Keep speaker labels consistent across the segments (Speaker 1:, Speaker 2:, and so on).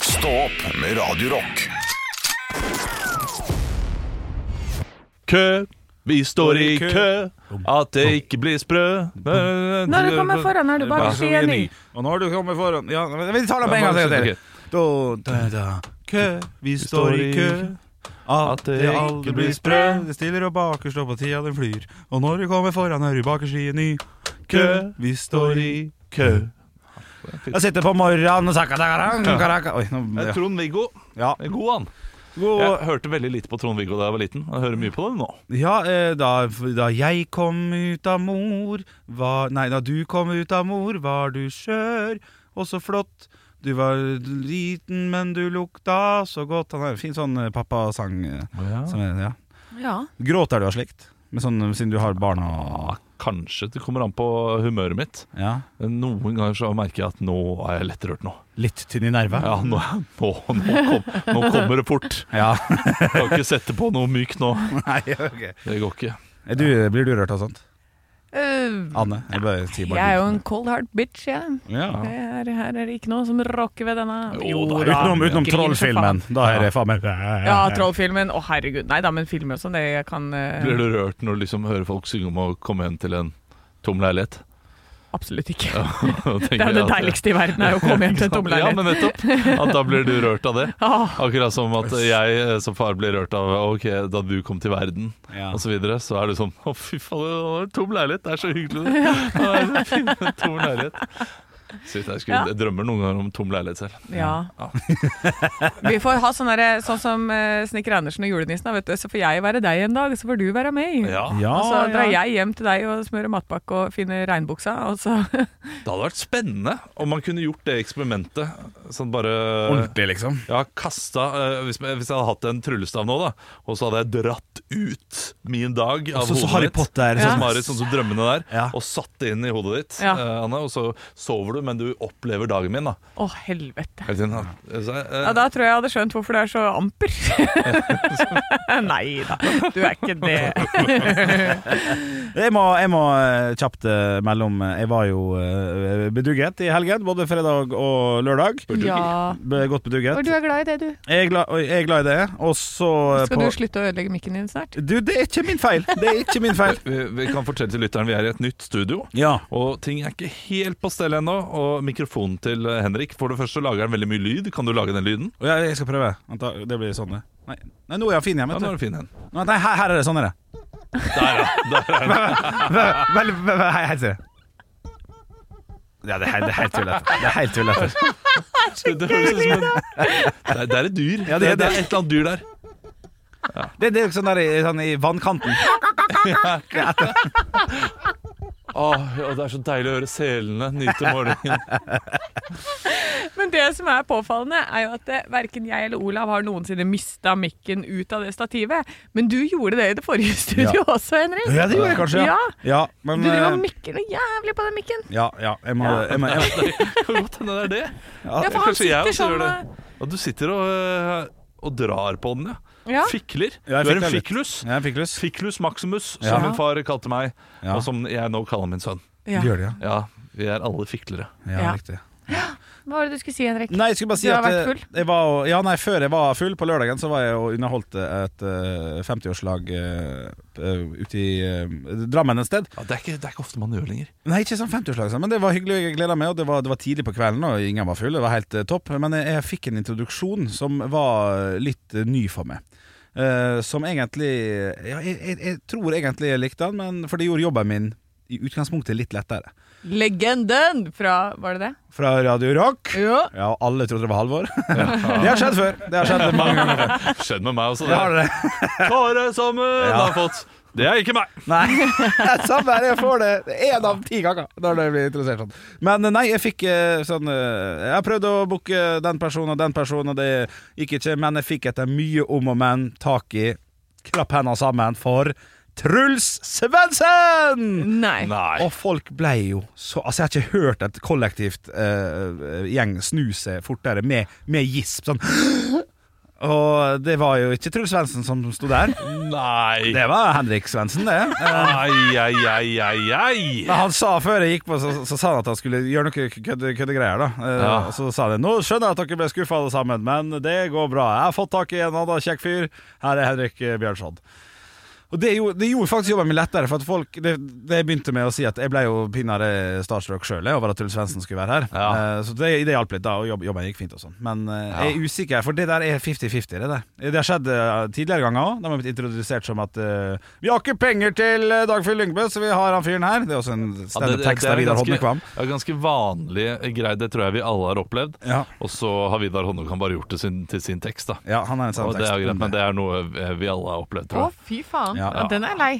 Speaker 1: Stå opp med Radio Rock.
Speaker 2: kø. Vi står i kø. At det ikke blir sprø.
Speaker 3: Når du kommer foran, er du bare
Speaker 2: Bare
Speaker 3: enig.
Speaker 4: Og når du kommer foran ja, men Vi tar det på en gang til. dere. Da, da, da. Kø, vi står i kø. At det aldri blir sprø. Det stiller og baker, står på tida den flyr. Og når du kommer foran, er du bakerst i en ny kø. Vi står i kø. Jeg sitter på morgenen og sakka, sakka, sakka, sakka. Oi, nå,
Speaker 2: Eh,
Speaker 4: ja.
Speaker 2: Trond-Viggo
Speaker 4: Ja.
Speaker 2: er Eh, god, han. Jeg
Speaker 4: God,
Speaker 2: hørte veldig lite på Trond-Viggo da jeg var liten. Jeg hører mye på det nå.
Speaker 4: ja eh, da, da jeg kom ut av mor var, Nei, da du kom ut av mor, var du skjør og så flott. Du var liten, men du lukta så godt. Han er en fin sånn eh, pappasang. eh, Som er, ja.
Speaker 3: Ja.
Speaker 4: Gråter du av slikt? Med sånn, siden du har barn og
Speaker 2: Ah, kanskje det kommer an på humøret mitt.
Speaker 4: ja.
Speaker 2: Men Noen ganger så merker jeg at nå er jeg lettrørt nå.
Speaker 4: Litt tynn i nerva?
Speaker 2: Ja, nå, nå, nå, kom, nå kommer det fort.
Speaker 4: Ja.
Speaker 2: Kan ikke sette på noe mykt nå.
Speaker 4: nei, ok.
Speaker 2: Det går ikke.
Speaker 4: Er Du, eh, blir du rørt av sånt?
Speaker 3: Øh,
Speaker 4: Anne? Jeg, bare sier bare
Speaker 3: jeg er jo
Speaker 4: du.
Speaker 3: en cold hard bitch, jeg.
Speaker 4: ja.
Speaker 3: Det er, her er det ikke noe som rocker ved denne.
Speaker 2: Jo da.
Speaker 4: Utenom, utenom
Speaker 3: Griner for
Speaker 4: trollfilmen.
Speaker 3: faen.
Speaker 4: Da er det faen meg
Speaker 3: Ja, trollfilmen. Å, herregud. Nei da, men filmer og sånn, det jeg kan eh,
Speaker 2: Blir du rørt når du liksom hører folk synge om å komme hjem til en tom leilighet?
Speaker 3: absolutt ikke.
Speaker 2: det
Speaker 3: Det er det deiligste i verden, er jo å komme hjem til en tom
Speaker 2: altså. Ja, men
Speaker 3: leilighet.
Speaker 2: nettopp. At da blir du rørt av det.
Speaker 3: Ah,
Speaker 2: Akkurat som at jeg eh, som far blir rørt av Ok, da du kom til verden
Speaker 4: Ja.
Speaker 2: og så videre, så er du sånn Å, fy faen, det var en tom leilighet. Det er så hyggelig. Det er en fin, tom leilighet. Shit, jeg, skulle,
Speaker 3: Ja.
Speaker 2: jeg drømmer noen ganger om tom leilighet selv.
Speaker 3: ja.
Speaker 2: Ja.
Speaker 3: Vi får ha sånn derre- sånn som eh, Snekker Andersen og julenissen. da, Vet du. Så får jeg være deg en dag, så får du være meg.
Speaker 2: Ja.
Speaker 4: Ja,
Speaker 3: Og så drar
Speaker 4: ja.
Speaker 3: jeg hjem til deg og smører matpakke og finner regnbuksa, og så
Speaker 2: Det hadde vært spennende om man kunne gjort det eksperimentet. Sånn bare
Speaker 4: Ordentlig, liksom.
Speaker 2: Ja, kasta eh, hvis, hvis jeg hadde hatt en tryllestav nå, da, og så hadde jeg dratt ut min dag av
Speaker 4: Sånn som
Speaker 2: hodet
Speaker 4: Harry
Speaker 2: mitt.
Speaker 4: Potter,
Speaker 2: Sånn
Speaker 3: Ja.
Speaker 2: som Harry, sånn som drømmene der.
Speaker 4: Ja.
Speaker 2: Og satt det inn i hodet ditt,
Speaker 3: Ja.
Speaker 2: eh, Anne. Og så sover du, men du opplever dagen min, da.
Speaker 3: Å, helvete.
Speaker 2: Hele tiden, da. Så, eh,
Speaker 3: Ja, da tror jeg jeg hadde skjønt hvorfor du er så amper. Nei da, du er ikke det.
Speaker 4: Jeg må, jeg må eh, kjapt eh, melde om eh, Jeg var jo eh, bedugget i helgen, både fredag og lørdag.
Speaker 3: Ja.
Speaker 4: Be- Godt bedugget.
Speaker 3: er glad i det, du.
Speaker 4: Jeg er gla- oi, jeg er glad i det. Og så eh,
Speaker 3: Skal du slutte å ødelegge mikken din snart?
Speaker 4: Du, det er ikke min feil! Det er ikke min feil.
Speaker 2: vi, vi kan fortelle til lytteren vi er i et nytt studio.
Speaker 4: Ja.
Speaker 2: Og ting er ikke helt på stell ennå. Og mikrofonen til eh, Henrik For det første så lager han veldig mye lyd. Kan du lage den lyden?
Speaker 4: Og jeg, jeg skal prøve. Vent da, Det blir sånn, det. Nei, nei nå er han fin igjen,
Speaker 2: Ja,
Speaker 4: vet
Speaker 2: nå
Speaker 4: du.
Speaker 2: er det fin en.
Speaker 4: Nå- Nei, her, her er det sånn, er det. Der, ja. Der er Helt til. Ja, det er helt- det er helt tullete. Det er helt tullete.
Speaker 2: Det, høres ut som en, det, er, det er et dyr.
Speaker 4: Ja, det
Speaker 2: det,
Speaker 4: er
Speaker 2: er,
Speaker 4: det.
Speaker 2: et eller annet dyr der.
Speaker 4: Det, det er sånn der i, sånn i vannkanten.
Speaker 2: Åh, ja, det er så deilig å høre selene nyte morgenen.
Speaker 3: Men det som er påfallende, er jo at eh, verken jeg eller Olav har noensinne mista mikken ut av det stativet. Men du gjorde det i det forrige studioet også, Henrik.
Speaker 4: Ja, det gjorde jeg kanskje.
Speaker 3: Ja.
Speaker 4: ja men
Speaker 3: Du driver
Speaker 4: eh,
Speaker 3: og mikker noe jævlig på den mikken.
Speaker 4: Ja, ja. Jeg må, jeg må, jeg må.
Speaker 2: Kan godt hende det er det.
Speaker 3: Ja, for han
Speaker 2: Kanskje jeg
Speaker 3: sitter
Speaker 2: også
Speaker 3: sånn
Speaker 2: gjør det.
Speaker 3: og-
Speaker 2: Ja, du sitter og, øh, og drar på den, ja.
Speaker 3: Ja.
Speaker 2: Fikler. Du
Speaker 4: Ja, jeg
Speaker 2: er en
Speaker 4: fikler litt.
Speaker 2: fiklus.
Speaker 4: Ja, Jeg fikk lyst.
Speaker 2: Fiklus maximus,
Speaker 4: Ja.
Speaker 2: som min far kalte meg,
Speaker 4: Ja.
Speaker 2: og som jeg nå kaller min sønn.
Speaker 3: Ja.
Speaker 4: Gjør det, ja.
Speaker 2: Ja, vi er alle fiklere.
Speaker 4: ja,
Speaker 3: Ja.
Speaker 4: Riktig.
Speaker 3: Hva var det du skulle si, Henrik?
Speaker 4: Nei, jeg skulle bare si
Speaker 3: Du har
Speaker 4: at
Speaker 3: vært
Speaker 4: eh,
Speaker 3: full?
Speaker 4: jeg var, jo- ja, nei, Før jeg var full på lørdagen, så var jeg og underholdt et eh, 50-årslag eh, eh, ute i eh, Drammen et sted.
Speaker 2: Ja, det, er ikke, det er ikke ofte man gjør lenger.
Speaker 4: Nei, ikke sånn 50-årslag, sånn, men det var hyggelig. Jeg gleda meg, og det var, det var tidlig på kvelden, og ingen var full. Det var helt eh, topp. Men jeg, jeg fikk en introduksjon som var litt eh, ny for meg. Eh, som egentlig ja, jeg, jeg, jeg tror egentlig jeg likte den, men for det gjorde jobben min i utgangspunktet litt lettere.
Speaker 3: Legenden fra Var det det?
Speaker 4: Fra Radio Rock.
Speaker 3: Ja.
Speaker 4: Ja, og alle trodde det var Halvor. Det har skjedd før. Det har skjedd mange ganger før.
Speaker 2: Skjedd med meg også.
Speaker 4: Det
Speaker 2: Det.
Speaker 4: har det.
Speaker 2: Tare som hun
Speaker 4: Ja.
Speaker 2: har fått. Det er ikke meg.
Speaker 4: Nei, samme her. Jeg får det én av ti ganger når det blir interessert sånn. Men nei, jeg fikk eh, sånn eh, Jeg prøvde å booke den personen og den personen, og det gikk ikke, men jeg fikk etter mye om og men tak i Klapp hendene sammen for Truls Svendsen!
Speaker 3: Nei.
Speaker 2: Nei.
Speaker 4: Og folk ble jo så Altså, jeg har ikke hørt et kollektivt eh, gjeng snu seg fortere med, med gisp. Sånn Og det var jo ikke Truls Svendsen som sto der.
Speaker 2: Nei.
Speaker 4: Det var Henrik Svendsen, det. Eh,
Speaker 2: Ai, ai, ai, ai,
Speaker 4: men
Speaker 2: ai.
Speaker 4: Han sa før jeg gikk på, så, så sa han at han skulle gjøre noe kødde, køddegreier. da Eh,
Speaker 2: Ja.
Speaker 4: Og Så sa han Nå skjønner jeg at dere ble skuffa alle sammen, men det går bra. Jeg har fått tak i en annen kjekk fyr. Her er Henrik eh, Bjørnson. Og det gjorde, det gjorde faktisk jobben min lettere, for at folk Det, det begynte med å si at jeg ble jo pinadø starstruck sjøl over at Truls Svendsen skulle være her.
Speaker 2: Ja.
Speaker 4: Eh, Så det, det hjalp litt, da, og jobb, jobben gikk fint og sånn. Men eh, jeg er usikker, for det der er 50-50, det der. Det har skjedd eh, tidligere ganger òg. De har blitt introdusert som at eh, Vi har ikke penger til eh, Dagfjell Lyngbø, så vi har han fyren her. Det er også en
Speaker 2: Ja, det- det- det
Speaker 4: standup-tekst
Speaker 2: er
Speaker 4: av Vidar
Speaker 2: ganske-
Speaker 4: Hodnekvam.
Speaker 2: Ja, ganske vanlig greie. Det tror jeg vi alle har opplevd.
Speaker 4: Ja.
Speaker 2: Og så har Vidar Honnekvam bare gjort det sin, til sin tekst, da.
Speaker 4: ja, han er en
Speaker 2: Og det er jo greit, men
Speaker 4: standup-tekst.
Speaker 2: det er noe eh, vi alle har opplevd,
Speaker 3: Å,
Speaker 2: tror jeg.
Speaker 3: fy faen.
Speaker 4: Ja.
Speaker 3: Ja, den er lei.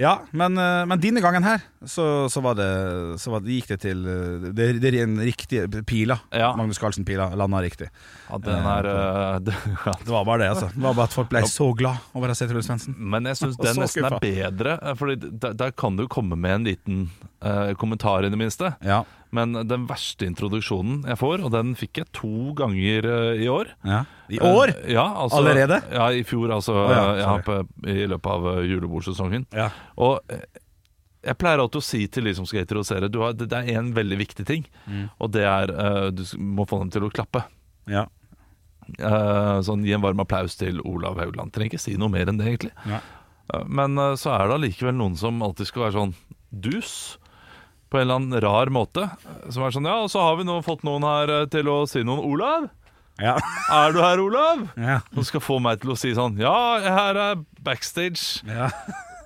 Speaker 4: Ja, men, eh, men denne gangen her, så, så, var det, så var det, gikk det til eh, Det, det er en riktig pila.
Speaker 2: Ja.
Speaker 4: Magnus Carlsen-pila landa riktig.
Speaker 2: Ja, den er, eh, det, ja.
Speaker 4: Det var bare det, altså. Det var bare at folk ble så glad over å se Truls Svendsen.
Speaker 2: Men jeg syns
Speaker 4: Og
Speaker 2: den
Speaker 4: så
Speaker 2: nesten er
Speaker 4: skuffa.
Speaker 2: bedre, eh, Fordi der, der kan du komme med en liten eh, kommentar, i det minste.
Speaker 4: Ja.
Speaker 2: Men den verste introduksjonen jeg får, og den fikk jeg to ganger eh, i år
Speaker 4: ja. I år!
Speaker 2: Eh, Ja, altså,
Speaker 4: Allerede?
Speaker 2: Ja, i fjor, altså.
Speaker 4: ja,
Speaker 2: eh, ja, på, I løpet av eh, julebordsesongen.
Speaker 4: Ja.
Speaker 2: Og eh, jeg pleier alltid å si til de som skal introdusere du har, Det det er én veldig viktig ting,
Speaker 4: Mm.
Speaker 2: og det er eh, du s- må få dem til å klappe.
Speaker 4: Ja.
Speaker 2: Eh, sånn, Gi en varm applaus til Olav Haugland. Trenger ikke si noe mer enn det, egentlig.
Speaker 4: Nei.
Speaker 2: Eh, Men eh, så er det allikevel noen som alltid skal være sånn dus. På en eller annen rar måte. eh, Som er sånn Ja, og så har vi nå fått noen her eh, til å si noen Olav!
Speaker 4: Ja.
Speaker 2: Er du her, Olav?
Speaker 4: ja.
Speaker 2: Som skal få meg til å si sånn Ja, her er backstage.
Speaker 4: ja.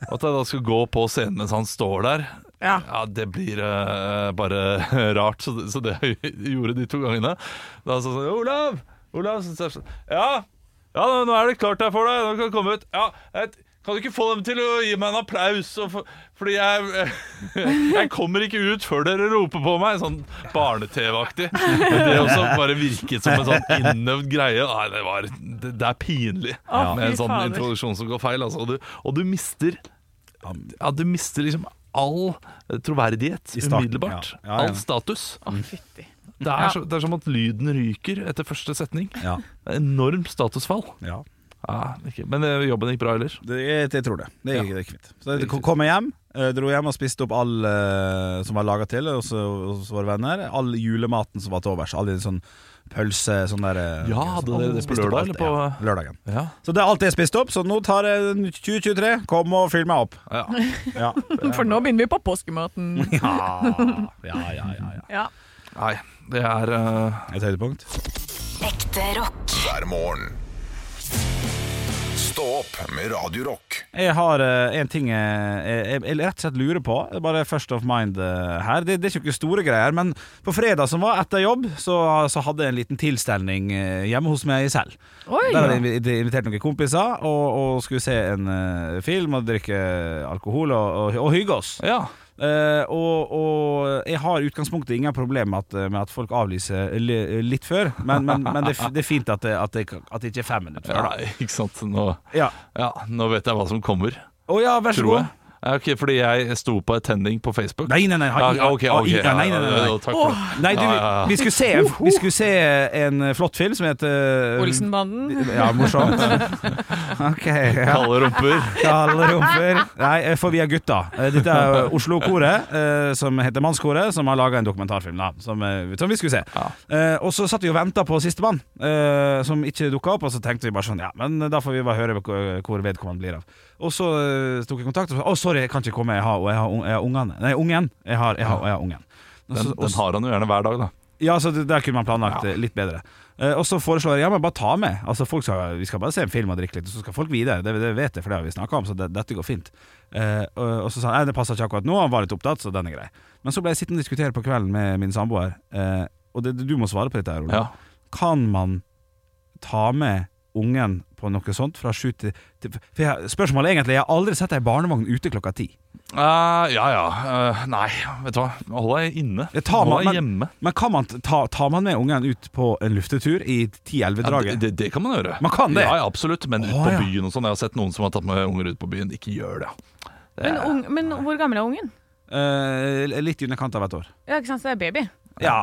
Speaker 2: At jeg da skal gå på scenen mens han står der.
Speaker 3: Ja.
Speaker 2: Ja, det blir eh, bare rart, så det, så det jeg gjorde de to gangene. Da sa sånn Olav! Olav! Så, sa jeg sånn, ja, ja, nå- nå er det klart her for deg. Nå kan du komme ut. Ja, et, kan du ikke få dem til å gi meg en applaus? Og få- fordi jeg Jeg kommer ikke ut før dere roper på meg. Sånn barne-TV-aktig. Men Det også bare virket som en sånn innøvd greie. Nei, det, var, det, det er pinlig
Speaker 3: Å,
Speaker 2: med en
Speaker 3: fy
Speaker 2: sånn
Speaker 3: fader.
Speaker 2: introduksjon som går feil. Altså. Og, du, og du mister ja, du mister liksom all troverdighet
Speaker 4: I starten,
Speaker 2: umiddelbart.
Speaker 4: ja. Ja, ja.
Speaker 2: All status.
Speaker 3: Å, fytti.
Speaker 2: Det er, så, det er som at lyden ryker etter første setning.
Speaker 4: ja.
Speaker 2: Det er Enormt statusfall.
Speaker 4: ja.
Speaker 2: Ja, ikke. Men eh, jobben gikk bra ellers.
Speaker 4: Det, jeg, jeg tror det. Det gikk det gikk fint. Så jeg kom- kom jeg hjem, eh, dro hjem og spiste opp all eh, som var laga til hos, hos våre venner. All julematen som var til overs. All den sånn pølse sånn der eh,
Speaker 2: Ja, hadde dere det på
Speaker 4: spiste opp
Speaker 2: lørdag,
Speaker 4: alt,
Speaker 2: eller på-
Speaker 4: ja, lørdagen.
Speaker 2: Ja,
Speaker 4: Så det er alt jeg spiste opp, så nå tar jeg 2023. Kom og fyll meg opp.
Speaker 2: ja.
Speaker 4: Ja.
Speaker 3: For nå begynner vi på påskematen.
Speaker 4: Ja, ja, ja, ja, ja.
Speaker 3: Ja.
Speaker 2: Ah, Nei, det er eh,
Speaker 4: Et høydepunkt.
Speaker 5: Ekte rock.
Speaker 1: hver morgen. Stå opp med Radio Rock.
Speaker 4: Jeg har eh, en ting eh, jeg, jeg rett og slett lurer på. Det er Bare first of mind eh, her. Det, det er jo ikke store greier, men på fredag som var etter jobb, så, så hadde jeg en liten tilstelning eh, hjemme hos meg selv.
Speaker 3: Oi!
Speaker 4: Der hadde jeg invi- invitert noen kompiser og, og skulle se en eh, film og drikke alkohol og, og, og hygge oss.
Speaker 2: Ja.
Speaker 4: Eh, og, og jeg har i utgangspunktet ingen problemer med, at- eh, med at folk avlyser li- litt før, men, men, men det, er f- det er fint at det, at, det, at det ikke er fem minutter før.
Speaker 2: ja ikke sant. Nå,
Speaker 4: da. Ja.
Speaker 2: ja, nå vet jeg hva som kommer,
Speaker 4: Å ja, vær så
Speaker 2: tror
Speaker 4: god.
Speaker 2: jeg. Ja, Ok, fordi jeg sto på attending på Facebook.
Speaker 4: Nei, nei, nei.
Speaker 2: Ja, ok, ok.
Speaker 4: Ja, nei, nei, nei, nei.
Speaker 2: Ja, Takk for det.
Speaker 4: Nei, du,
Speaker 2: Ja, ja, ja.
Speaker 4: vi, skulle se, vi skulle se en eh, flott film som heter eh,
Speaker 3: Olsenbanden.
Speaker 4: Ja, morsomt. Ok. Ja.
Speaker 2: Kalde rumper.
Speaker 4: Kalde rumper. Nei, eh, for vi er gutta. Dette er Oslo-koret, eh, som heter Mannskoret, som har laga en dokumentarfilm da, som, eh, som vi skulle se. Eh, Og så satt vi og venta på sistemann, eh, som ikke dukka opp, og så tenkte vi bare sånn Ja, men da får vi bare høre hvor- eh, hvor vedkommende blir av. Og så eh, tok jeg kontakt og sa Å, sorry, jeg kan ikke komme, jeg har, jeg har, ung- jeg har ungene. Nei, ungen. Jeg har, jeg har, jeg har ungen. Og så-
Speaker 2: Den,
Speaker 4: og
Speaker 2: den har han jo gjerne hver dag, da.
Speaker 4: ja, så det, der kunne man planlagt det litt bedre. Eh, og så foreslår jeg ja, men bare ta med. Altså, folk skal, vi skal bare se en film og drikke litt, og så skal folk videre. Det, det vet jeg, for det har vi snakka om, så det, dette går fint. Eh, og, og så sa han nei, det passer ikke akkurat nå, han var litt opptatt, så den er grei. Men så ble jeg sittende og diskutere på kvelden med min samboer, eh, og det, du må svare på dette, her, Ole.
Speaker 2: Ja.
Speaker 4: Kan man ta med ungen på noe sånt fra sju til, til For jeg, spørsmålet er egentlig, jeg har aldri sett ei barnevogn ute klokka ti.
Speaker 2: Eh, ja ja. Eh, nei, vet du hva. Hold deg inne.
Speaker 4: Jeg tar
Speaker 2: Hold
Speaker 4: meg-
Speaker 2: deg hjemme.
Speaker 4: Men kan man ta, tar man med ungen ut på en luftetur i
Speaker 2: Ja, det,
Speaker 4: ti-elleve-draget?
Speaker 2: det, det kan man gjøre.
Speaker 4: Man kan det?
Speaker 2: Ja, ja absolutt. Men ut
Speaker 4: Å,
Speaker 2: på
Speaker 4: ja.
Speaker 2: byen og sånn. Jeg har sett noen som har tatt med unger ut på byen. Ikke gjør det.
Speaker 3: Men, ung, men hvor gammel er ungen?
Speaker 4: Eh, litt i underkant av et år.
Speaker 3: Ja, ikke sant, så det er baby.
Speaker 4: Ja.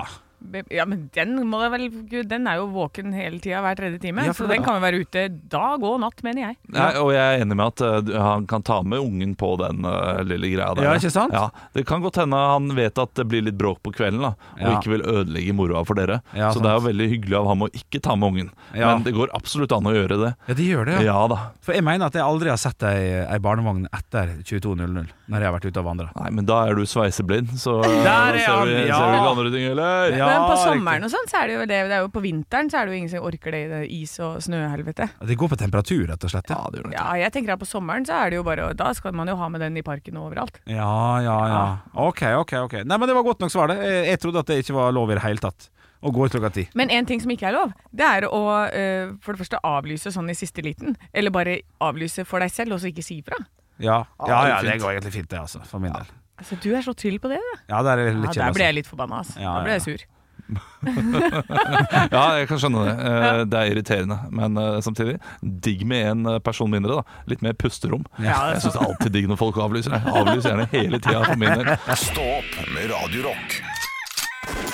Speaker 3: Ja, men den, må det vel, den er jo våken hele tida hver tredje time,
Speaker 4: Ja, for
Speaker 3: så
Speaker 4: det-
Speaker 3: den kan jo være ute dag og natt, mener jeg.
Speaker 2: Nei, og jeg er enig med at eh, du- han kan ta med ungen på den eh, lille greia der.
Speaker 4: Ja, ikke sant?
Speaker 2: Ja, det kan godt hende han vet at det blir litt bråk på kvelden, da, og
Speaker 4: Ja.
Speaker 2: ikke vil ødelegge moroa for dere.
Speaker 4: Ja,
Speaker 2: så
Speaker 4: sant.
Speaker 2: det er jo veldig hyggelig av ham å ikke ta med ungen.
Speaker 4: Ja.
Speaker 2: Men det går absolutt an å gjøre det.
Speaker 4: Ja, de gjør det,
Speaker 2: Ja,
Speaker 4: ja.
Speaker 2: da.
Speaker 4: For jeg mener at jeg aldri har sett ei, ei barnevogn etter 22.00, når jeg har vært ute og vandra.
Speaker 2: Nei, men da er du sveiseblind, så eh,
Speaker 4: Der er
Speaker 2: ser, vi,
Speaker 4: han, ja.
Speaker 2: ser vi ikke andre ting, eller?
Speaker 4: Ja,
Speaker 3: men på
Speaker 4: riktig.
Speaker 3: sommeren og sånn, så er det jo det. Det er jo på vinteren så er det jo ingen som orker det i det is- og snøhelvete.
Speaker 4: Det går på temperatur, rett og slett. Ja, det gjør
Speaker 3: Ja, jeg tenker at på sommeren så er det jo bare Da skal man jo ha med den i parken og overalt.
Speaker 4: Ja, ja, ja. Ok, ok. ok Nei, men Det var godt nok svar, det. Jeg, jeg trodde at det ikke var lov i det hele tatt å gå ut klokka ti.
Speaker 3: Men en ting som ikke er lov, det er å eh, for det første avlyse sånn i siste liten. Eller bare avlyse for deg selv, og så ikke si fra.
Speaker 4: Ja, ja, ja,
Speaker 2: det er
Speaker 4: det
Speaker 2: fint.
Speaker 4: går egentlig fint, det, altså. For min del.
Speaker 3: Altså, du er så trill på det, du.
Speaker 4: Ja, der er jeg
Speaker 3: Ja,
Speaker 4: litt
Speaker 3: der ble
Speaker 4: kjedelig.
Speaker 3: jeg litt forbanna, altså.
Speaker 4: Ja,
Speaker 3: da
Speaker 4: ja.
Speaker 3: ble jeg sur.
Speaker 2: Ja, jeg kan skjønne det. Eh, Det er irriterende. Men eh, samtidig, digg med en eh, person mindre. da Litt mer pusterom.
Speaker 3: Ja, det er
Speaker 2: jeg syns det er alltid digg når folk avlyser. Jeg avlyser gjerne hele tida for min del.
Speaker 1: Stå opp med Radio Rock.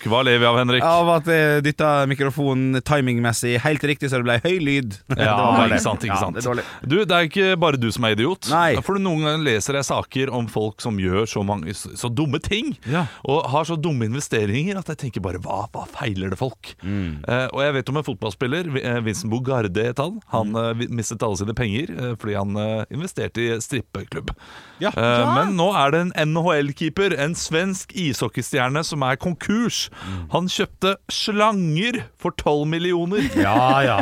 Speaker 2: Hva lever vi av, Henrik?
Speaker 4: Av at jeg dytta mikrofonen timingmessig helt riktig, så det ble høy lyd. Det
Speaker 2: Ja,
Speaker 4: var bare
Speaker 2: ikke
Speaker 4: det.
Speaker 2: sant, ikke
Speaker 4: Ja,
Speaker 2: sant.
Speaker 4: det er dårlig.
Speaker 2: Du, det er ikke bare du som er idiot.
Speaker 4: Nei.
Speaker 2: For noen ganger leser jeg saker om folk som gjør så, mange, så dumme ting,
Speaker 4: Ja.
Speaker 2: og har så dumme investeringer at jeg tenker bare hva, hva feiler det folk?
Speaker 4: Mm.
Speaker 2: Eh, og jeg vet om en fotballspiller, Vi- eh, Vincent Bogarde het han.
Speaker 4: Mm.
Speaker 2: Han eh, vi- mistet alle sine penger eh, fordi han eh, investerte i strippeklubb.
Speaker 4: Ja.
Speaker 2: Eh, Men nå er det en NHL-keeper, en svensk ishockeystjerne, som er konkurs.
Speaker 4: Mm.
Speaker 2: Han kjøpte slanger for 12 millioner.
Speaker 4: Ja, ja.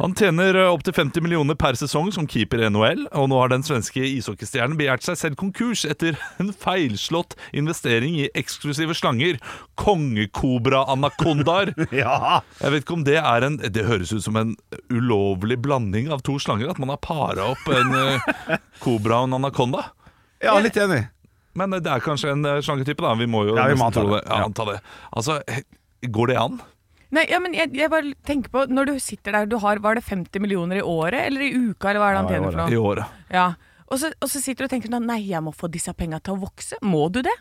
Speaker 2: Han tjener eh, opptil 50 millioner per sesong som keeper i NHL, og nå har den svenske ishockeystjernen begjært seg selv konkurs etter en feilslått investering i eksklusive slanger, kongekobra-anakondaer.
Speaker 4: ja.
Speaker 2: Jeg vet ikke om det er en Det høres ut som en ulovlig blanding av to slanger, at man har para opp en eh, kobra og en anakonda.
Speaker 4: ja litt enig.
Speaker 2: Men eh, det er kanskje en eh, slangetype, da. Vi må jo
Speaker 4: Ja, vi må
Speaker 2: nesten
Speaker 4: anta
Speaker 2: tro
Speaker 4: det.
Speaker 2: Ja,
Speaker 4: Ja.
Speaker 2: anta det. Altså, eh, går det an?
Speaker 3: Nei, ja, men jeg, jeg bare tenker på Når du sitter der, du har Var det 50 millioner i året, eller i uka, eller hva er det
Speaker 4: Ja,
Speaker 3: han
Speaker 4: i
Speaker 3: tjener for
Speaker 4: året.
Speaker 2: I
Speaker 3: noe?
Speaker 2: året.
Speaker 3: Ja. Og, så, og så sitter du og tenker sånn Nei, jeg må få disse penga til å vokse. Må du det?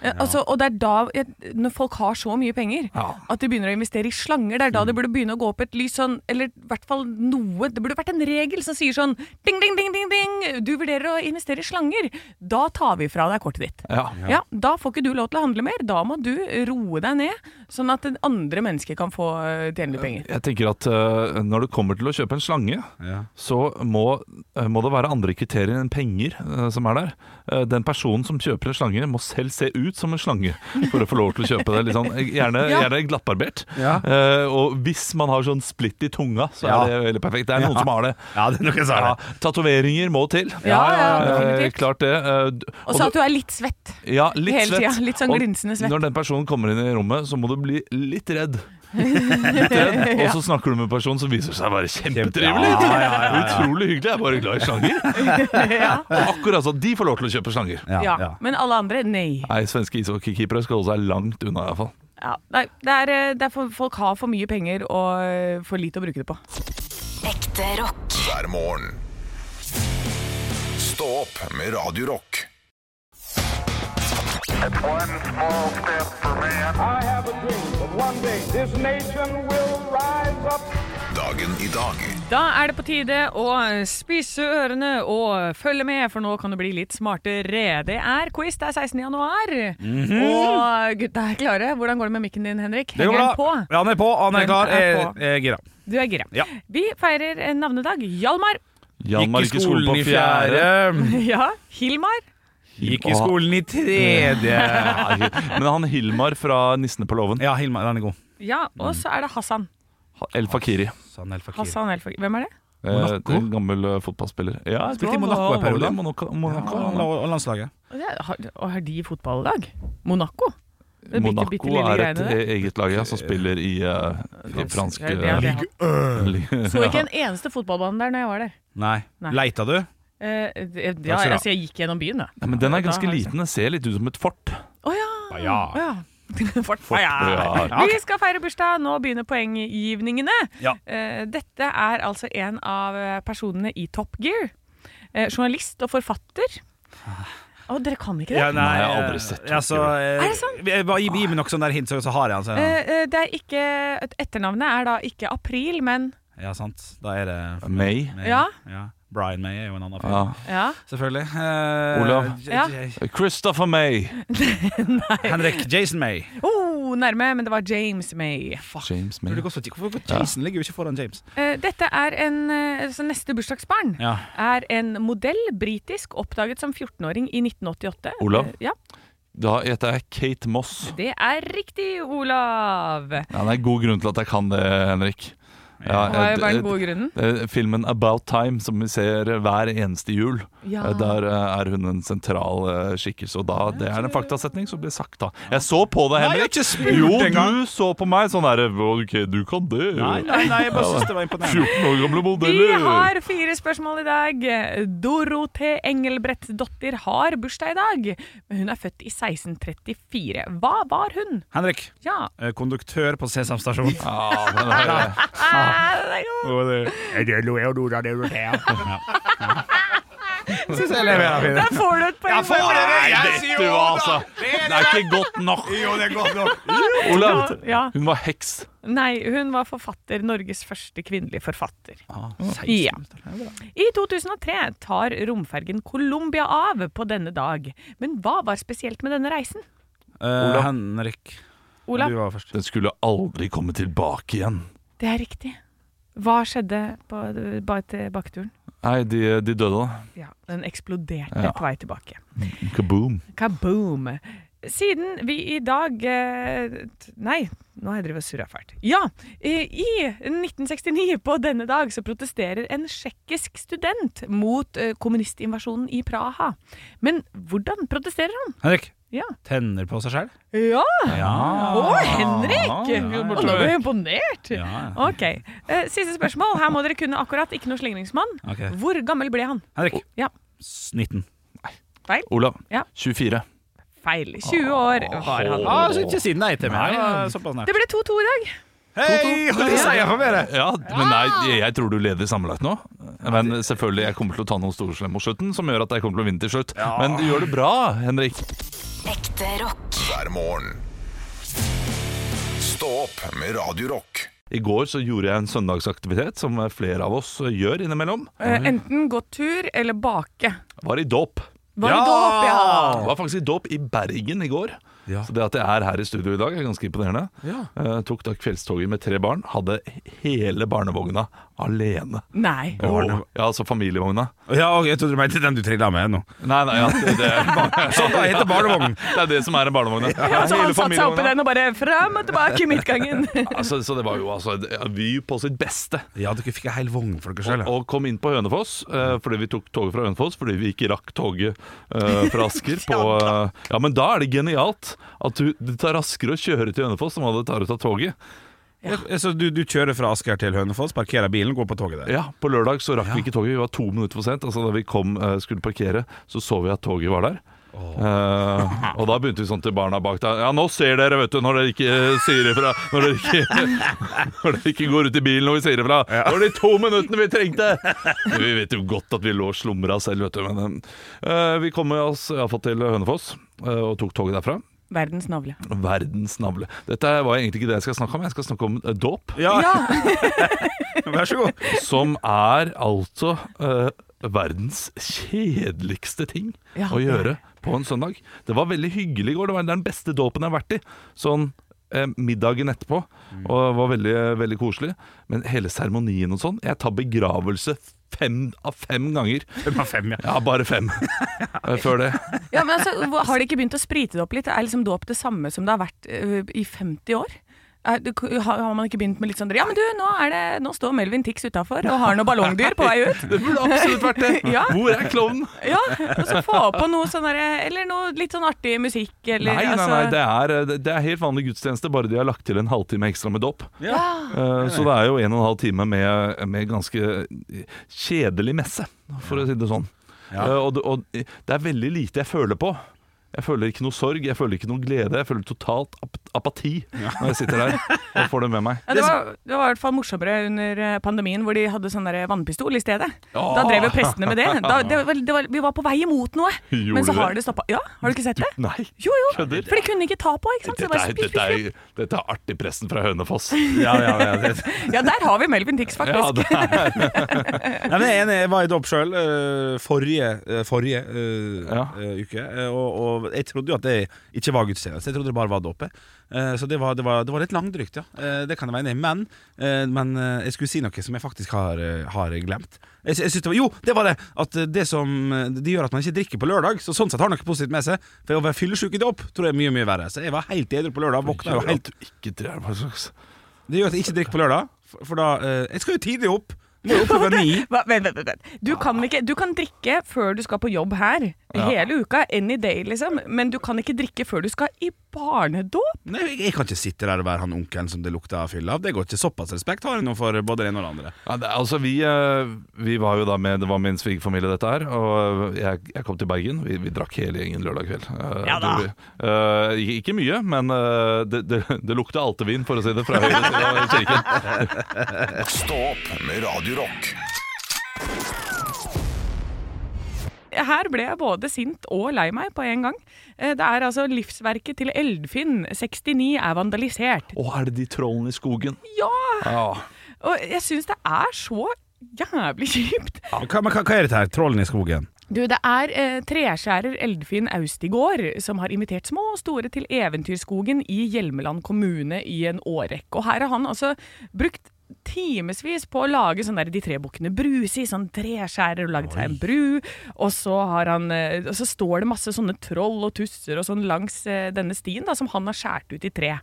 Speaker 3: Eh, Altså, og det er da jeg- Når folk har så mye penger
Speaker 2: Ja.
Speaker 3: at de begynner å investere i slanger, det er da det burde begynne å gå opp et lys sånn Eller i hvert fall noe Det burde vært en regel som sier sånn Ding, ding, ding, ding, ding! Du vurderer å investere i slanger. Da tar vi fra deg kortet ditt.
Speaker 2: Ja.
Speaker 3: Ja. Da får ikke du lov til å handle mer. Da må du roe deg ned, sånn at andre mennesker kan få eh, tjene litt penger.
Speaker 2: Jeg tenker at eh, når det kommer til å kjøpe en slange,
Speaker 4: Ja.
Speaker 2: så må, eh, må det være andre kriterier enn penger eh, som er der. Eh, Den personen som kjøper en slange, må selv se ut som en slange for å få lov til å kjøpe det. Litt sånn, gjerne,
Speaker 3: Ja.
Speaker 2: gjerne glattbarbert.
Speaker 4: Ja.
Speaker 2: Eh, Og hvis man har sånn splitt i tunga, så
Speaker 4: Ja.
Speaker 2: er det veldig perfekt. Det er noen som har det.
Speaker 4: Ja, det er noe
Speaker 2: Ja,
Speaker 4: sånt.
Speaker 2: Tatoveringer må til.
Speaker 3: Ja, ja,
Speaker 2: Eh,
Speaker 3: definitivt.
Speaker 2: klart det. Eh, d-
Speaker 3: Og så at du er litt svett.
Speaker 2: ja, litt
Speaker 3: hele
Speaker 2: svett.
Speaker 3: tida, litt sånn glinsende svett.
Speaker 2: Og når den personen kommer inn i rommet, så må du bli litt redd. Litt redd. Og så snakker du med personen som viser seg å være kjempetrivelig.
Speaker 4: Ja, ja, ja, ja.
Speaker 2: Utrolig hyggelig. Jeg er bare glad i slanger.
Speaker 3: ja.
Speaker 2: Og akkurat sånn, de får lov til å kjøpe slanger.
Speaker 4: Ja,
Speaker 3: Ja. Men alle andre, nei.
Speaker 2: Nei, svenske ishockeykeepere skal holde seg langt unna, iallfall.
Speaker 3: Ja. nei det er, eh, det er for, folk har for mye penger og eh, for lite å bruke det på.
Speaker 5: Ekte rock.
Speaker 1: hver morgen. Stå opp med Radio Rock.
Speaker 6: One small step for man. I have a dream that one day this nation will rise up.
Speaker 1: Dagen i dag
Speaker 3: Da er det på tide å eh, spisse ørene og følge med, for nå kan du bli litt smartere. Det er quiz, det er 16. januar.
Speaker 2: Mhm.
Speaker 3: Og eh, gutta er klare. Hvordan går det med mikken din, Henrik?
Speaker 4: Det går
Speaker 3: Henger den
Speaker 4: bra.
Speaker 3: på?
Speaker 4: Ja, han er på, han er
Speaker 3: Den
Speaker 4: klar.
Speaker 3: er
Speaker 4: Jeg
Speaker 3: på.
Speaker 4: jeg er gira.
Speaker 3: Du er gira.
Speaker 4: Ja.
Speaker 3: Vi feirer en navnedag. Hjalmar.
Speaker 2: Jan Marke skolen på fjerde.
Speaker 3: Ja. Hilmar.
Speaker 4: Gikk i skolen i tredje.
Speaker 2: Nei, Men han Hilmar fra 'Nissene på låven',
Speaker 4: Ja, Hilmar, den er god.
Speaker 3: Ja, og så er det Hassan.
Speaker 2: El Fakiri.
Speaker 4: Sanel Fakir.
Speaker 3: Hassan Elfag. Hvem er det?
Speaker 2: Eh,
Speaker 4: Monaco?
Speaker 2: en gammel eh, fotballspiller. Ja, jeg
Speaker 4: Spilte
Speaker 2: tror
Speaker 4: i
Speaker 2: han
Speaker 4: Monaco
Speaker 2: var-
Speaker 4: en periode.
Speaker 2: var i Monaco, Monaco,
Speaker 4: Og
Speaker 2: han,
Speaker 4: og landslaget.
Speaker 3: Og det er- Har, og har de fotballag? Monaco? Det bitte,
Speaker 2: Monaco
Speaker 3: bitte lille
Speaker 2: er
Speaker 3: greiene
Speaker 2: et
Speaker 3: der.
Speaker 2: e- eget lag ja, som spiller i, eh, i fransk
Speaker 3: Ja, det er det.
Speaker 2: eh,
Speaker 3: Så ikke en eneste fotballbane der når jeg var der.
Speaker 4: Nei.
Speaker 3: Nei.
Speaker 4: Leita du?
Speaker 3: Eh, det- ja,
Speaker 4: Takk skal du ha.
Speaker 3: altså, jeg gikk gjennom byen, da.
Speaker 2: Ja, men den er ganske
Speaker 3: Da har jeg-
Speaker 2: liten. Den ser litt ut som et fort.
Speaker 3: Å ja.
Speaker 4: Ja.
Speaker 3: Å ja. Fort, Å ja.
Speaker 2: Ja.
Speaker 3: Vi skal feire bursdag. Nå begynner poenggivningene.
Speaker 4: Ja.
Speaker 3: Eh, Dette er altså en Eh, av personene i Top Gear. Eh, Journalist og forfatter. Å, dere kan ikke det?
Speaker 4: Ja, nei,
Speaker 2: jeg har aldri sett
Speaker 4: ja, så, eh,
Speaker 3: Er det sant?
Speaker 4: vi- Bare gi, gi meg nok sånn der hint, så, så har jeg den.
Speaker 3: Eh,
Speaker 4: så-
Speaker 3: eh, det er ikke Etternavnet er da ikke april, men
Speaker 4: Ja, sant. Da er det
Speaker 2: May.
Speaker 3: Ja.
Speaker 4: Brian May er jo en annen fyr.
Speaker 2: Ja.
Speaker 3: Ja.
Speaker 4: Selvfølgelig. Eh,
Speaker 2: Olav.
Speaker 4: J-
Speaker 3: Ja.
Speaker 4: J-
Speaker 2: Christopher May.
Speaker 4: Henrik Jason May.
Speaker 3: Oh, nærme, men det var James May.
Speaker 2: James
Speaker 4: Burde
Speaker 2: May.
Speaker 4: gå så- Hvorfor går Jason ligger jo ikke foran James?
Speaker 3: Eh, dette er en eh, altså Neste bursdagsbarn
Speaker 4: Ja.
Speaker 3: er en modell, britisk, oppdaget som 14-åring i 1988.
Speaker 2: Olav?
Speaker 3: Eh, ja,
Speaker 2: Da heter jeg Kate Moss.
Speaker 3: det er riktig, Olav!
Speaker 2: Ja, det er god grunn til at jeg kan det, Henrik. Ja,
Speaker 3: Hva er
Speaker 2: et-
Speaker 3: bare
Speaker 2: et-
Speaker 3: den gode grunnen?
Speaker 2: det er Filmen About Time, som vi ser hver eneste jul.
Speaker 3: Ja.
Speaker 2: Eh, Der eh, er hun en sentral eh, skikkelse, og da det er en faktasetning som blir sagt, da. Jeg så på deg,
Speaker 4: Nei, jeg har
Speaker 2: Henrik.
Speaker 4: ikke spurt engang.
Speaker 2: jo, du så på meg sånn derre OK, du kan det. jo."
Speaker 4: Nei, nei, nei, jeg bare synes det var imponerende.
Speaker 2: 14 år gamle
Speaker 3: Vi
Speaker 2: modeller.
Speaker 3: har fire spørsmål i dag. Dorothee Engelbrettdotter har bursdag i dag. Men hun er født i 1634. Hva var hun?
Speaker 4: Henrik,
Speaker 3: Ja.
Speaker 4: eh, konduktør på Sesam stasjon.
Speaker 2: Ja, den er,
Speaker 3: Ah, det er jo-
Speaker 4: Syns jeg leverer fint.
Speaker 3: Der får du et poeng.
Speaker 2: Nei, vet du hva, altså. Det er ikke godt nok.
Speaker 4: Jo, det er godt nok.
Speaker 2: Olav,
Speaker 3: Ja.
Speaker 2: hun var heks.
Speaker 3: Nei, hun var forfatter. Norges første kvinnelige forfatter.
Speaker 4: Ah,
Speaker 3: Ja.
Speaker 4: Ja.
Speaker 3: I 2003 tar romfergen Colombia av på denne dag. Men hva var spesielt med denne reisen?
Speaker 4: Eh, Henrik, du
Speaker 3: Olav,
Speaker 4: var først.
Speaker 2: Den skulle aldri komme tilbake igjen.
Speaker 3: det er riktig. Hva skjedde på ba- tilbaketuren?
Speaker 2: Nei, de, de døde, da.
Speaker 3: Ja, den eksploderte
Speaker 2: Ja.
Speaker 3: på vei tilbake.
Speaker 2: Kaboom.
Speaker 3: Kaboom! Siden vi i dag eh, t- Nei, nå har jeg drevet og surra fælt. Ja, eh, i 1969 på denne dag så protesterer en tsjekkisk student mot eh, kommunistinvasjonen i Praha. Men hvordan protesterer han?
Speaker 4: Henrik,
Speaker 3: Ja.
Speaker 4: tenner på seg selv?
Speaker 3: Ja!
Speaker 4: Ja.
Speaker 3: Å, Henrik!
Speaker 2: Ja,
Speaker 3: Å,
Speaker 2: ja.
Speaker 3: nå ble jeg imponert!
Speaker 4: Ja.
Speaker 3: Ok, eh, Siste spørsmål. Her må dere kunne akkurat. Ikke noe slingringsmann.
Speaker 4: Ok.
Speaker 3: Hvor gammel ble han?
Speaker 4: Henrik,
Speaker 3: Ja,
Speaker 4: s- 19.
Speaker 3: Feil.
Speaker 2: Olav,
Speaker 3: Ja.
Speaker 2: 24.
Speaker 3: Feil. 20 år var han.
Speaker 4: Ah, så ikke si nei til meg.
Speaker 2: Nei.
Speaker 4: Det var Såpass nært.
Speaker 3: Det ble 2-2 i dag.
Speaker 4: Hei, og det sier jeg for mer.
Speaker 2: Ja, men nei,
Speaker 4: Ah!
Speaker 2: jeg- jeg tror du leder sammenlagt nå. Men selvfølgelig, jeg kommer til å ta noen store slem mot slutten, som gjør at jeg kommer til å vinne til slutt. Men du gjør det bra, Henrik.
Speaker 5: Ekte rock.
Speaker 1: hver morgen. Stå opp med Radio Rock.
Speaker 2: I går så gjorde jeg en søndagsaktivitet som flere av oss gjør innimellom.
Speaker 3: Eh, Enten gå tur eller bake.
Speaker 2: Var i dåp.
Speaker 3: Var det dåp, ja?
Speaker 2: Var faktisk i dåp i Bergen i går.
Speaker 4: Ja.
Speaker 2: Så det at jeg er her i studio i dag, er ganske imponerende.
Speaker 4: Ja.
Speaker 2: Eh, tok da kveldstoget med tre barn. Hadde hele barnevogna alene.
Speaker 3: Nei.
Speaker 2: Jo, ja, altså familievogna.
Speaker 4: Ja, og jeg trodde du mente den du trilla med nå.
Speaker 2: Nei, nei, ja, det, det,
Speaker 4: Sånn da heter barnevogn.
Speaker 2: det er det som er en barnevogn. ja.
Speaker 3: Ja, så Altså, han
Speaker 2: Hele
Speaker 3: satte seg
Speaker 2: familievogna.
Speaker 3: oppi den og bare fram og tilbake i midtgangen.
Speaker 2: Altså, så det var jo altså et Vy på sitt beste.
Speaker 4: Ja, dere fikk ei hel vogn for dere sjøl.
Speaker 2: Og, og kom inn på Hønefoss, eh, fordi vi tok toget fra Hønefoss fordi vi ikke rakk toget eh, fra Asker. På, eh, ja, men da er det genialt at du, det tar raskere å kjøre til Hønefoss enn hva det tar å ta toget.
Speaker 4: Eh, Så du, du kjører fra Asker til Hønefoss, parkerer bilen, går på toget der.
Speaker 2: Ja, På lørdag så rakk vi ikke toget, vi var to minutter for sent. Altså Da vi kom, eh, skulle parkere, så så vi at toget var der. Eh, og da begynte vi sånn til barna bak der. Ja, nå ser dere, vet du, når dere ikke eh, sier ifra. Når dere ikke, når dere ikke går ut i bilen og vi sier ifra. Det var de to minuttene vi trengte! Men Vi vet jo godt at vi lå og slumra selv, vet du. Men eh, vi kom med oss iallfall til Hønefoss eh, og tok toget derfra.
Speaker 3: Verdens navle.
Speaker 2: Verdens navle. Dette var egentlig ikke det jeg skal snakke om, jeg skal snakke om eh, dåp.
Speaker 4: Ja,
Speaker 3: Ja,
Speaker 4: vær så god.
Speaker 2: Som er altså eh, verdens kjedeligste ting
Speaker 3: Ja,
Speaker 2: å
Speaker 3: det er
Speaker 2: gjøre på en søndag. Det var veldig hyggelig i går. Det var den beste dåpen jeg har vært i. Sånn eh, middagen etterpå. Og det var veldig, veldig koselig. Men hele seremonien og sånn Jeg tar begravelse fem av fem ganger.
Speaker 4: Fem av fem, ja.
Speaker 2: Ja, bare fem eh, før det.
Speaker 3: ja men altså, hva- Har de ikke begynt å sprite det opp litt? Er liksom dåp det samme som det har vært ø, i 50 år? Er det- har- Har man ikke begynt med litt sånn Ja, men du, nå, er det, nå står Melvin Tix utafor og har noe ballongdyr på vei ut.
Speaker 2: Det burde absolutt vært det!
Speaker 3: Ja.
Speaker 2: Hvor er klovnen?
Speaker 3: Ja, og så få på noe sånn derre Eller noe litt sånn artig musikk, eller
Speaker 2: Nei, nei,
Speaker 3: altså-
Speaker 2: nei, det er, eh, det er helt vanlig gudstjeneste, bare de har lagt til en halvtime ekstra med dåp.
Speaker 3: Ja.
Speaker 2: Eh, Så det er jo en og en halv time med, med ganske kjedelig messe, for å si det sånn.
Speaker 4: Ja.
Speaker 2: Eh, Og, det- og det er veldig lite jeg føler på Jeg føler ikke noe sorg, jeg føler ikke noe glede. Jeg føler totalt ap apati når jeg sitter der og får det med meg.
Speaker 3: Ja, det, var, det var i hvert fall morsommere under eh, pandemien, hvor de hadde sånn der vannpistol i stedet.
Speaker 2: Ja.
Speaker 3: Da drev jo prestene med det. Da, det, var, det var, vi var på vei imot noe,
Speaker 2: Gjorde
Speaker 3: men så
Speaker 2: det?
Speaker 3: har det stoppa. Ja, har du ikke sett det?
Speaker 2: Nei.
Speaker 3: Jo, jo,
Speaker 2: Kødder.
Speaker 3: for de kunne ikke ta på, ikke sant? Sånn, Så det
Speaker 2: Dette
Speaker 3: bare
Speaker 2: er,
Speaker 3: spiff,
Speaker 2: dette,
Speaker 3: spiff,
Speaker 2: er, dette er artig pressen fra Hønefoss.
Speaker 4: Ja, ja, ja, det,
Speaker 3: spiff. Ja, der har vi Melvin Dix, faktisk.
Speaker 2: Ja, det er,
Speaker 4: Nei, men jeg er enig, jeg var i Dopp sjøl forrige, eh, forrige eh,
Speaker 2: Ja.
Speaker 4: eh, uke, eh, og, og jeg trodde jo at det ikke var gudstjeneste. Jeg trodde det bare var dåpet. Eh, Så det var, det, var, det var litt langdrygt, ja. Eh, Det kan jeg være enig i. Men, eh, men eh, jeg skulle si noe som jeg faktisk har, eh, har glemt. Jeg, sy- jeg synes det var, jo, det var det! At eh, det som eh, Det gjør at man ikke drikker på lørdag, så sånn sett har noe positivt med seg. For å være fyllesyk i dåp tror jeg er mye, mye verre. Så jeg var helt edru på lørdag. Våkna jo
Speaker 2: At
Speaker 4: helt
Speaker 2: du ikke drar på en slags-
Speaker 4: Det gjør at jeg ikke drikker på lørdag, for, for da eh, Jeg skal jo tidlig opp. Må jo opp klokka ni.
Speaker 3: Hva, vent, vent, vent, vent. Du kan, ikke, du kan drikke før du skal på jobb her hele uka, any day liksom, men du kan ikke drikke før du skal i barnedåp.
Speaker 4: Nei, jeg, jeg kan ikke sitte der og være han onkelen som det lukta fyll av. Det går ikke såpass respekt har jeg nå for både det ene og det andre.
Speaker 2: Ja, det, altså vi, eh, vi var jo da med Det var min svigerfamilie, dette her. Og eh, jeg, jeg kom til Bergen. Vi, vi drakk hele gjengen lørdag kveld. Eh,
Speaker 3: Ja da.
Speaker 2: dro vi. Eh, ikke, ikke mye, men eh, det, det, det lukta altevin, for å si det, fra høyre side av kirken.
Speaker 1: Stå opp med Radio Rock.
Speaker 3: Her ble jeg både sint og lei meg på en gang. Eh, Det er altså livsverket til Eldfinn, 69, er vandalisert.
Speaker 2: Å, er det de trollene i skogen?
Speaker 3: Ja!
Speaker 2: Ja.
Speaker 3: Og jeg syns det er så jævlig kjipt.
Speaker 4: Hva, men hva, hva er dette her? Trollen i skogen?
Speaker 3: Du, det er eh, treskjærer Eldfinn Austigård som har invitert små og store til Eventyrskogen i Hjelmeland kommune i en årrekke. Og her har han altså brukt timevis på å lage sånn der De tre bukkene Bruse i sånn treskjærer og laget seg en bru. Og så, har han, eh, og så står det masse sånne troll og tusser og sånn langs eh, denne stien da, som han har skåret ut i tre.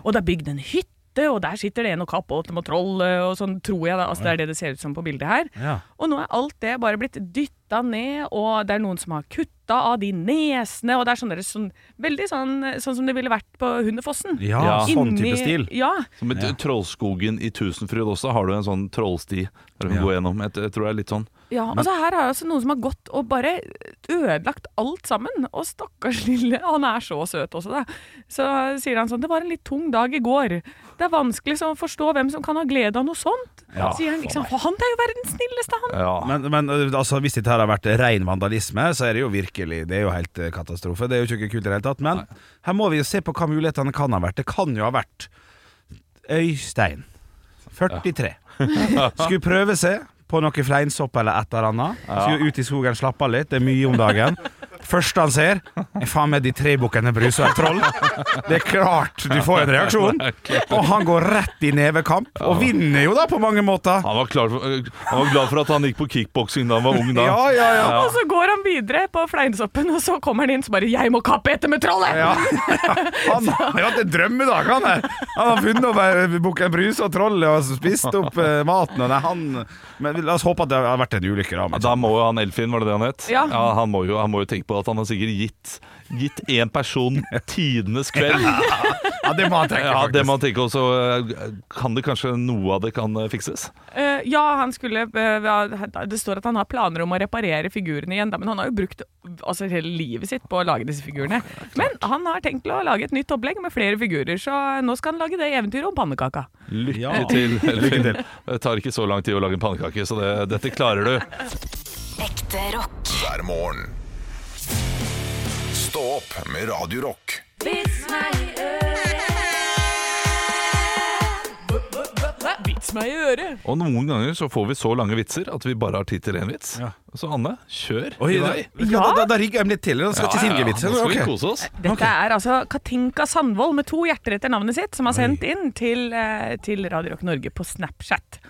Speaker 3: Og det er bygd en hytte. Og der sitter det en og kapper og troll, eh, og sånn tror jeg. Da. Altså, det er det det ser ut som på bildet her.
Speaker 4: Ja.
Speaker 3: Og nå er alt det bare blitt dytta ned, og det er noen som har kutta av de nesene, og det er sånn, der- sånn veldig sånn, sånn som det ville vært på Hundefossen.
Speaker 4: Ja,
Speaker 2: Ja.
Speaker 4: sånn
Speaker 3: Inni-
Speaker 4: type stil.
Speaker 3: Ja.
Speaker 2: Så Med Trollskogen i Tusenfryd også har du en sånn trollsti der du kan
Speaker 4: Ja.
Speaker 2: gå gjennom. Jeg, jeg tror det er litt sånn.
Speaker 3: ja. Og så her har altså noen som har gått og bare ødelagt alt sammen. Og stakkars lille, han er så søt også, da. Så sier han sånn Det var en litt tung dag i går. Det er vanskelig så å forstå hvem som kan ha glede av noe sånt.
Speaker 2: Ja,
Speaker 3: sier han liksom. For han er jo verdens snilleste, han.
Speaker 2: Ja.
Speaker 4: Men, men ø, altså, hvis dette her har vært ren vandalisme, så er det jo virkelig Det er jo helt ø, katastrofe. Det er jo ikke kult i det hele tatt. Men her må vi jo se på hva mulighetene kan ha vært. Det kan jo ha vært Øystein, 43, skulle prøve seg på noe fleinsopp eller et eller annet. Skulle ut i skogen, slappe av litt. Det er mye om dagen. Første han ser, er faen meg de tre bukkene Bruse og et troll. Det er klart du får en reaksjon. Og han går rett i nevekamp, og vinner jo da på mange måter.
Speaker 2: Han, var klar for, han var glad for at han gikk på kickboksing da han var ung. da
Speaker 4: Ja, ja, ja.
Speaker 3: Og så går han videre på fleinsoppen, og så kommer han inn så bare 'Jeg må kappe etter med trollet!'
Speaker 4: Ja. Han har jo hatt en drøm i dag, han her. Han har funnet over bukken Bruse og trollet og spist opp eh, maten. Og nei, han, men la oss håpe at det har vært en ulykke, da.
Speaker 2: Ja,
Speaker 4: Men,
Speaker 2: Da må jo han Elfin, var det det han het?
Speaker 3: Ja.
Speaker 2: han, må jo, han må jo tenke på at han har sikkert gitt Gitt én person tidenes kveld.
Speaker 4: ja, det må han tenke,
Speaker 2: Ja, det
Speaker 4: faktisk.
Speaker 2: må han tenke også. eh, Kan det kanskje noe av det kan eh, fikses?
Speaker 3: Eh, ja, han skulle eh, ja, Det står at han har planer om å reparere figurene igjen, da, men han har jo brukt altså, hele livet sitt på å lage disse figurene. Men han har tenkt å lage et nytt opplegg med flere figurer, så nå skal han lage det eventyret om pannekaka.
Speaker 2: Lykke
Speaker 4: Ja.
Speaker 2: til, Elfin. Det tar ikke så lang tid å lage en pannekake, så det, dette klarer du.
Speaker 5: Ekte rock.
Speaker 1: hver morgen. Stå opp med Radio Rock.
Speaker 3: Vits meg i øret!
Speaker 2: Og noen ganger så får vi så lange vitser at vi bare har tid til én vits.
Speaker 4: Ja.
Speaker 2: Så Anne, kjør
Speaker 4: Oi,
Speaker 2: i
Speaker 4: da,
Speaker 2: vei.
Speaker 4: da, da, da rigger jeg dem litt til. Da skal
Speaker 2: Ja,
Speaker 4: ikke
Speaker 2: ja,
Speaker 4: Silje
Speaker 2: ja.
Speaker 4: vitse.
Speaker 2: Nå skal vi
Speaker 4: Ok.
Speaker 2: kose oss.
Speaker 3: Dette er altså Katinka Sandvold med to hjerter etter navnet sitt, som har sendt inn til, eh, til Radio Rock Norge på Snapchat.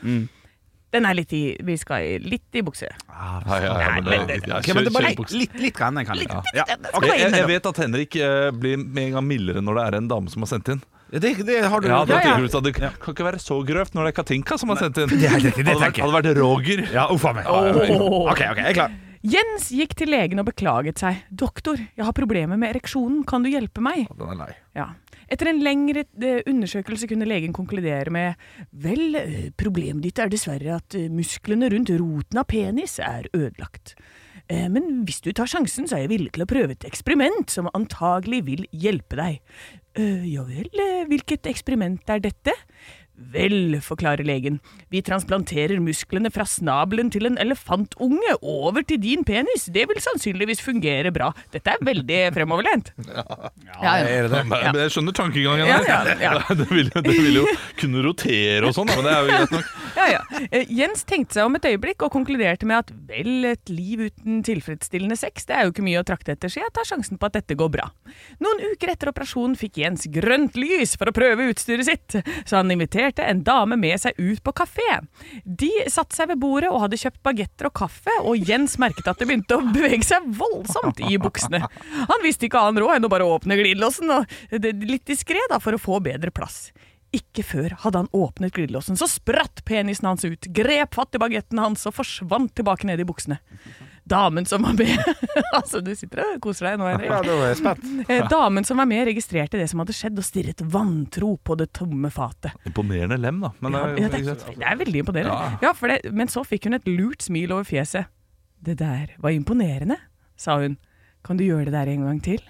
Speaker 3: Den er litt i Vi skal i- litt i bukse.
Speaker 2: Ja, ja, ja, men det- ja,
Speaker 4: Ok, men det er bare
Speaker 2: kjør på.
Speaker 4: litt, litt, litt kan jeg. Kan jeg. Ja.
Speaker 3: skal
Speaker 2: Jeg,
Speaker 3: være
Speaker 2: jeg, jeg
Speaker 3: innimellom.
Speaker 2: vet at Henrik eh, blir med en gang mildere når det er en dame som har sendt inn.
Speaker 4: Det, det har du.
Speaker 2: Ja, da
Speaker 3: ja.
Speaker 2: tenker du at Det kan ikke være så grøvt når det er Katinka som har sendt inn.
Speaker 4: det er helt riktig, det
Speaker 2: hadde, vært,
Speaker 4: tenker jeg.
Speaker 2: hadde vært Roger.
Speaker 4: Ja, uff a meg.
Speaker 3: Åh.
Speaker 4: OK, ok, jeg er klar.
Speaker 3: Jens gikk til legen og beklaget seg. 'Doktor, jeg har problemer med ereksjonen. Kan du hjelpe meg?'
Speaker 2: Den er lei.
Speaker 3: Ja. Etter en lengre eh, undersøkelse kunne legen konkludere med 'Vel, eh, problemet ditt er dessverre at eh, musklene rundt roten av penis er ødelagt'. Eh, Men hvis du tar sjansen, så er jeg villig til å prøve et eksperiment som antagelig vil hjelpe deg. «Eh, ja vel, eh, hvilket eksperiment er dette? Vel, forklarer legen, vi transplanterer musklene fra snabelen til en elefantunge over til din penis. Det vil sannsynligvis fungere bra. Dette er veldig fremoverlent. Ja, ja.
Speaker 4: Er det det?
Speaker 2: Men jeg skjønner tankegangen
Speaker 3: Ja,
Speaker 2: her.
Speaker 3: ja,
Speaker 2: Det, vil, det vil jo kunne rotere og sånn, da, men det er jo greit nok.
Speaker 3: Ja, ja. Eh, Jens tenkte seg om et øyeblikk og konkluderte med at vel, et liv uten tilfredsstillende sex, det er jo ikke mye å trakte etter, så jeg tar sjansen på at dette går bra. Noen uker etter operasjonen fikk Jens grønt lys for å prøve utstyret sitt, så han inviterte en dame med seg ut på kafé. De satte seg ved bordet og hadde kjøpt bagetter og kaffe, og Jens merket at det begynte å bevege seg voldsomt i buksene. Han visste ikke annen råd enn å bare åpne glidelåsen, og eh, det- litt diskré da, for å få bedre plass. Ikke før hadde han åpnet glidelåsen, så spratt penisen hans ut, grep fatt i bagetten hans og forsvant tilbake ned i buksene. Damen som var med Altså, du sitter og koser deg nå, Henrik.
Speaker 4: Ja, da er jeg spent.
Speaker 3: Eh, Damen som var med, registrerte det som hadde skjedd, og stirret vantro på det tomme fatet.
Speaker 2: Imponerende lem, da. Men eh. det er,
Speaker 3: Ja, det, er, det er veldig imponerende.
Speaker 2: Ja.
Speaker 3: Ja, for det, men så fikk hun et lurt smil over fjeset. Det der var imponerende, sa hun. Kan du gjøre det der en gang til?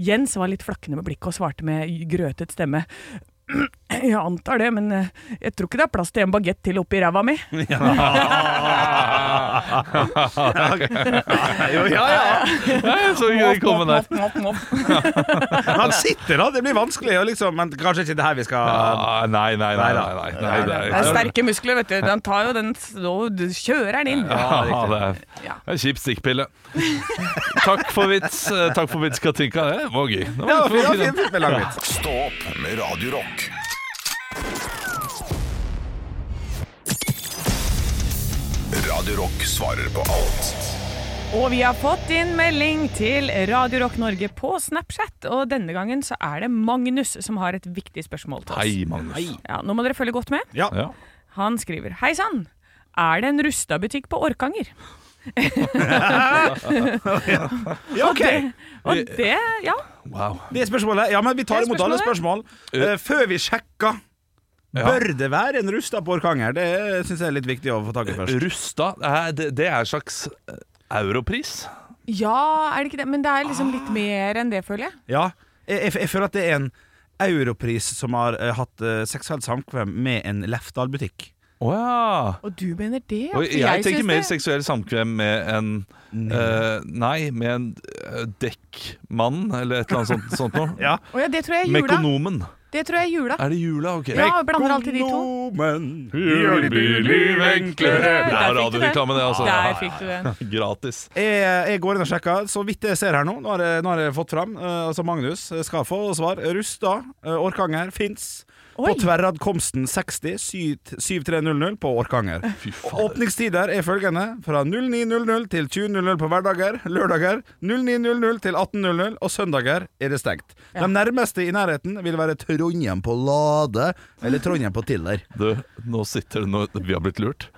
Speaker 3: Jens var litt flakkende med blikket og svarte med grøtet stemme. Jeg antar det, men eh, jeg tror ikke det er plass til en bagett til oppi ræva mi.
Speaker 4: Jo, ja, ja.
Speaker 2: Jeg så ikke det komme der.
Speaker 4: Han sitter da, det blir vanskelig å liksom Men kanskje ikke det her vi skal
Speaker 2: Ah, nei, nei, nei. nei, nei, nei, det er-
Speaker 3: Det er sterke muskler, vet du. Den tar jo den og kjører den inn.
Speaker 2: Ja, det er,
Speaker 3: Ja.
Speaker 2: det er kjip stikkpille. Takk for vits, eh, takk for vits Katinka. Det var gøy. Det var-
Speaker 4: Ja,
Speaker 2: det var
Speaker 4: fint,
Speaker 2: fint.
Speaker 4: fint, fint med lang vits.
Speaker 1: Stå opp med Radio Rock. Radio Rock svarer på alt.
Speaker 3: Og vi har fått inn melding til Radio Rock Norge på Snapchat, og denne gangen så er det Magnus som har et viktig spørsmål til oss.
Speaker 2: Hei, Magnus.
Speaker 3: Ja, nå må dere følge godt med.
Speaker 2: Ja.
Speaker 3: Han skriver Hei sann, er det en rusta butikk på Orkanger?
Speaker 4: Ja, ok
Speaker 3: Og det, ja.
Speaker 2: Wow.
Speaker 4: Det er spørsmålet. Ja, men vi tar
Speaker 3: Det er
Speaker 4: imot alle spørsmål. Eh, før vi sjekker, bør det være en rusta på Orkanger? Det syns jeg er litt viktig å få tak i først.
Speaker 2: Rusta, eh, det, det er en slags eh, europris.
Speaker 3: Ja, er det ikke det? Men det er liksom litt mer enn det, føler jeg.
Speaker 4: Ja, jeg, jeg, jeg føler at det er en europris som har eh, hatt uh, seksuelt samkvem med en Lefdal-butikk.
Speaker 2: Å ja.
Speaker 3: Og du mener det?
Speaker 2: Oi,
Speaker 3: altså,
Speaker 2: jeg, tenker
Speaker 3: syns
Speaker 2: mer
Speaker 3: det-
Speaker 2: seksuell samkvem med en eh, Nei, med en eh, dekkmann eller et eller annet sånt, sånt noe.
Speaker 4: Ja.
Speaker 3: Å ja, det tror jeg er jula.
Speaker 2: Mekonomen.
Speaker 3: Det tror jeg er jula.
Speaker 2: Er det jula? Ok.
Speaker 3: Ja, jeg blander alltid de to.
Speaker 4: Økonomen.
Speaker 2: enklere. Det er
Speaker 3: Der fikk du det.
Speaker 2: radioreklame, det, altså.
Speaker 3: Der fikk du den.
Speaker 2: Gratis.
Speaker 4: Jeg, jeg går inn og sjekker, så vidt jeg ser her nå. Nå har jeg, nå har jeg fått fram. eh, altså Magnus skal få svar. Rusta, eh, Orkanger, fins. På
Speaker 3: Oi.
Speaker 4: Tverrad Komsten 60 syv- 7300 på Orkanger.
Speaker 2: Fy fader.
Speaker 4: Åpningstider er følgende fra 09.00 til 20.00 på hverdager, lørdager 09.00 til 18.00 og søndager er det stengt. De nærmeste i nærheten vil være Trondheim på Lade eller Trondheim på Tiller.
Speaker 2: Du, nå sitter det nå, Vi har blitt lurt.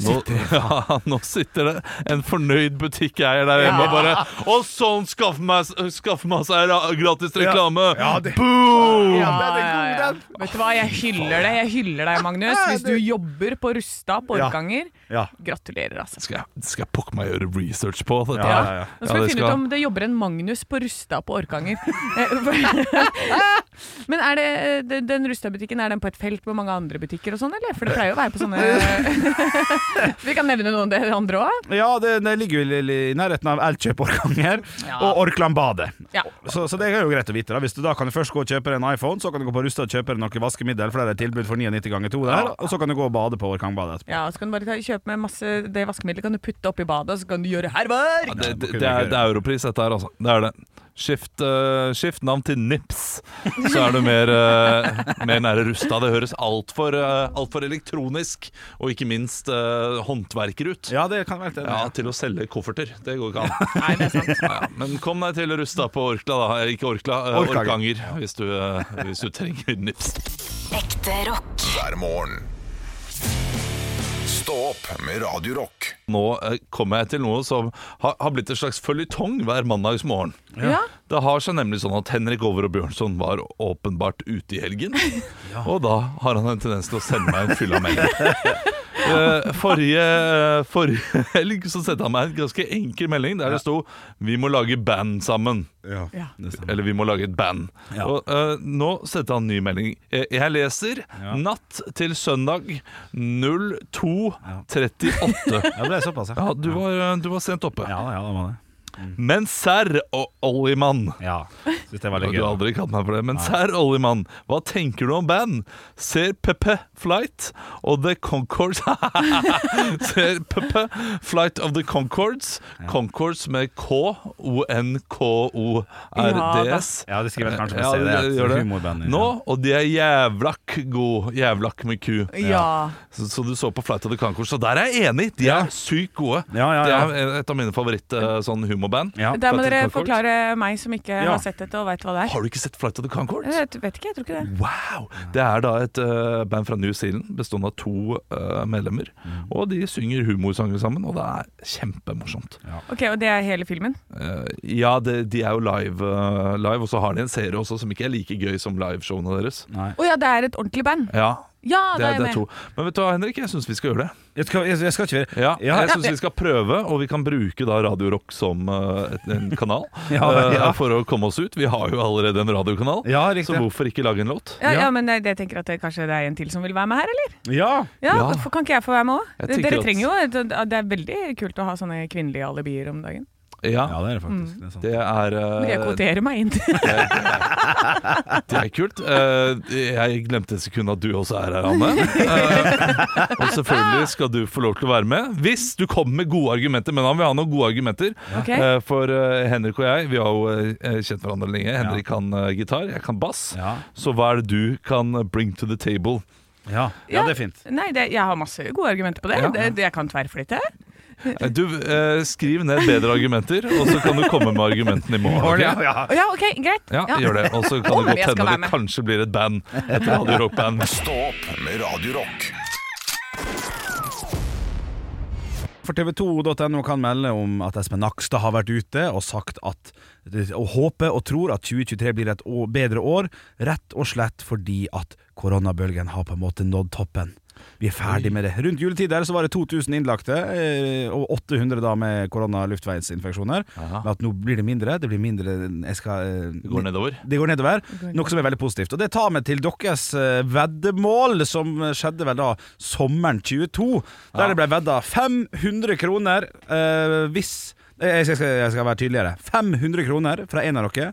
Speaker 2: Nå, ja, nå sitter det en fornøyd butikkeier der hjemme og bare Og sånn skaffer meg, skaffer meg seg ra- gratis reklame!
Speaker 4: Ja, det-
Speaker 2: Boom!
Speaker 3: Ja,
Speaker 4: den er
Speaker 3: ja,
Speaker 4: god,
Speaker 3: ja.
Speaker 4: den.
Speaker 3: Vet du hva, jeg hyller deg, jeg hyller deg, Magnus. Hvis du jobber på Rusta på
Speaker 4: Ja.
Speaker 3: Orkanger,
Speaker 4: Ja.
Speaker 3: gratulerer, altså.
Speaker 2: Skal jeg, skal jeg pokker meg gjøre research på dette?
Speaker 4: Ja,
Speaker 2: her?
Speaker 4: ja, ja.
Speaker 3: Nå skal
Speaker 2: Ja,
Speaker 3: vi
Speaker 2: det
Speaker 3: finne ut om det jobber en Magnus på Rusta på Orkanger. Eh, for- Men er det, eh, den- den Rusta-butikken, er den på et felt med mange andre butikker og sånn, eller? For det pleier jo å være på sånne Vi kan nevne noen det andre òg.
Speaker 4: Ja, det, det ligger jo i i nærheten av Elkjøp Orkanger
Speaker 3: Ja.
Speaker 4: og Orkland Badet.
Speaker 3: Ja.
Speaker 4: Så, så det er jo greit å vite. da Hvis du da kan du først gå og kjøpe deg en iPhone, så kan du gå på Rusta og kjøpe deg noe vaskemiddel, for det er et tilbud for 99 ganger 2 der, og så kan du gå og bade på Orkang Badet etterpå.
Speaker 3: ja, så kan du bare ta, kjøpe med masse det vaskemiddelet, kan du putte oppi badet, og så kan du gjøre
Speaker 2: Ja,
Speaker 3: herverk!
Speaker 2: det, det,
Speaker 4: det må
Speaker 2: det, er,
Speaker 4: kunne
Speaker 2: det er europris, dette her, altså. Det er det. Skift, eh, skift navn til Nips, så er du mer, eh, mer nære rusta. Det høres altfor uh, alt for elektronisk, og ikke minst eh, håndverker ut.
Speaker 4: Ja, det kan være det.
Speaker 2: Ja, til å selge kofferter. Det går ikke an.
Speaker 3: Nei, det er sant.
Speaker 2: Ja, ja. Men kom deg til rusta på Orkla, da. Eh, Ikke Orkla, eh,
Speaker 4: Orkanger.
Speaker 2: Orkanger, hvis du, eh, hvis du trenger Nips.
Speaker 5: Ekte rock.
Speaker 1: hver morgen. Stå opp med Radio Rock.
Speaker 2: Nå eh, kommer jeg til noe som har, har blitt en slags føljetong hver mandagsmorgen.
Speaker 3: Ja.
Speaker 2: Det har seg nemlig sånn at Henrik Over og Bjørnson var åpenbart ute i helgen. Og da har han en tendens til å sende meg en fylla melding. Eh, Forrige, eh, forrige helg så sendte han meg en ganske enkel melding der det sto 'Vi må lage band sammen'.
Speaker 4: Ja.
Speaker 3: Ja.
Speaker 4: Det stemmer.
Speaker 2: Eller 'Vi må lage et band'.
Speaker 4: Ja.
Speaker 2: Og eh, nå sendte han en ny melding. Eh, jeg leser
Speaker 4: Ja.
Speaker 2: 'Natt til søndag 02.38'.
Speaker 4: Ja, det ble såpass, ja.
Speaker 2: Ja, du var, eh, du var sent oppe.
Speaker 4: Ja, da, ja, det var det.
Speaker 2: Men serr og Ollimann
Speaker 4: Ja. Syns det var
Speaker 2: Du
Speaker 4: litt gøy.
Speaker 2: har
Speaker 4: da.
Speaker 2: aldri kalt meg for det, men serr Ollimann, hva tenker du om band? Ser Pepe Flight og The Concords Ser Pepe Flight of the Concords Concords med K-O-N-K-O-R-D-S
Speaker 4: Ja, de skriver vel kanskje
Speaker 2: Ja,
Speaker 4: på CD.
Speaker 2: det
Speaker 4: et
Speaker 2: gjør det.
Speaker 4: humorband, ja.
Speaker 2: Nå, og de er jævlakk god Jævlakk med Q
Speaker 3: Ja.
Speaker 2: så, så du så på Flight of the Concords Så der er jeg enig, de
Speaker 4: Ja.
Speaker 2: er sykt gode
Speaker 4: Ja, ja, ja.
Speaker 2: Det er et av mine favoritt eh, sånn humorband
Speaker 4: Ja.
Speaker 3: Der må
Speaker 2: Flight of
Speaker 3: dere
Speaker 2: the Conchords.
Speaker 3: forklare meg som ikke
Speaker 4: Ja.
Speaker 3: har sett dette og veit hva det er.
Speaker 2: Har du Mm. ikke sett Flight of the Conchords?
Speaker 3: Jeg vet- vet ikke, jeg tror ikke det.
Speaker 2: Wow! Det er da et eh, band fra New Zealand bestående av to eh, medlemmer.
Speaker 4: Mm.
Speaker 2: Og de synger humorsanger sammen, og det er kjempemorsomt.
Speaker 3: Ok, Og det er hele filmen?
Speaker 2: Eh, ja, det, de er jo live, eh, live, og så har de en serie også som ikke er like gøy som liveshowene deres.
Speaker 4: Nei.
Speaker 3: Å ja, det er et ordentlig band?
Speaker 2: Ja,
Speaker 3: Ja,
Speaker 2: det,
Speaker 3: da er
Speaker 2: er-
Speaker 3: jeg
Speaker 2: det
Speaker 3: med.
Speaker 2: er to. Men vet du hva, Henrik, jeg syns vi skal gjøre det.
Speaker 4: Jeg skal, jeg, jeg skal ikke være
Speaker 2: Ja,
Speaker 4: Ja.
Speaker 2: jeg syns vi skal prøve, og vi kan bruke da Radio Rock som eh, et, en kanal
Speaker 4: Ja,
Speaker 2: eh,
Speaker 4: ja.
Speaker 2: for å komme oss ut. Vi har jo allerede en radiokanal,
Speaker 4: Ja,
Speaker 2: så
Speaker 4: riktig.
Speaker 2: hvorfor ikke lage en låt?
Speaker 3: Ja, ja,
Speaker 4: Ja.
Speaker 3: men jeg, jeg tenker at det, kanskje det er en til som vil være med her, eller?
Speaker 4: Ja.
Speaker 3: Ja,
Speaker 2: Ja.
Speaker 3: for- Kan ikke jeg få være med
Speaker 2: Jeg
Speaker 3: òg?
Speaker 2: tenker
Speaker 3: Dere
Speaker 2: at-
Speaker 3: trenger jo et- Det er veldig kult å ha sånne kvinnelige alibier om dagen.
Speaker 2: Ja,
Speaker 4: ja, det er det faktisk. Det er sant.
Speaker 2: det er
Speaker 3: Men Jeg
Speaker 2: eh,
Speaker 3: kvoterer meg inn til
Speaker 2: Det er kult. Eh, jeg glemte et sekund at du også er her, Anne. Eh, og selvfølgelig skal du få lov til å være med. Hvis du kommer med gode argumenter, men han vil ha noen gode argumenter.
Speaker 3: Ok.
Speaker 2: Eh, for eh, Henrik og jeg, vi har jo eh, kjent hverandre lenge. Henrik kan eh, gitar, jeg kan bass.
Speaker 4: Ja.
Speaker 2: Så hva er det du kan bring to the table?
Speaker 4: Ja. ja, det er fint.
Speaker 3: Nei, det, jeg har masse gode argumenter på det.
Speaker 2: Ja.
Speaker 3: det, det jeg kan tverrflytte.
Speaker 2: Eh, du, eh, skriv ned bedre argumenter, og så kan du komme med argumentene i morgen. ok?
Speaker 4: Ja, ja.
Speaker 3: Å ja, OK, greit.
Speaker 2: Ja, gjør det. Og så kan
Speaker 3: Om
Speaker 2: det
Speaker 3: jeg
Speaker 2: godt
Speaker 3: skal
Speaker 2: hende
Speaker 3: være
Speaker 2: det
Speaker 3: med.
Speaker 2: kanskje blir et band. Et Radio Rock Band.
Speaker 1: Stå opp med Radio Rock.
Speaker 4: For tv2.no kan melde om at Espen Nakstad har vært ute og sagt at og håper og tror at 2023 blir et å- bedre år, rett og slett fordi at koronabølgen har på en måte nådd toppen. Vi er ferdig med det. Rundt juletid der så var det 2000 innlagte, eh, og 800 da med koronaluftveisinfeksjoner.
Speaker 2: Aha.
Speaker 4: Men At nå blir det mindre. Det blir mindre jeg skal, eh,
Speaker 2: Det går nedover.
Speaker 4: det går nedover, noe som er veldig positivt. Og det tar meg til deres eh, veddemål, som skjedde vel da sommeren 22. Der det ble vedda 500 kroner eh, hvis eh, jeg skal, jeg skal være tydeligere. 500 kroner fra en av dere.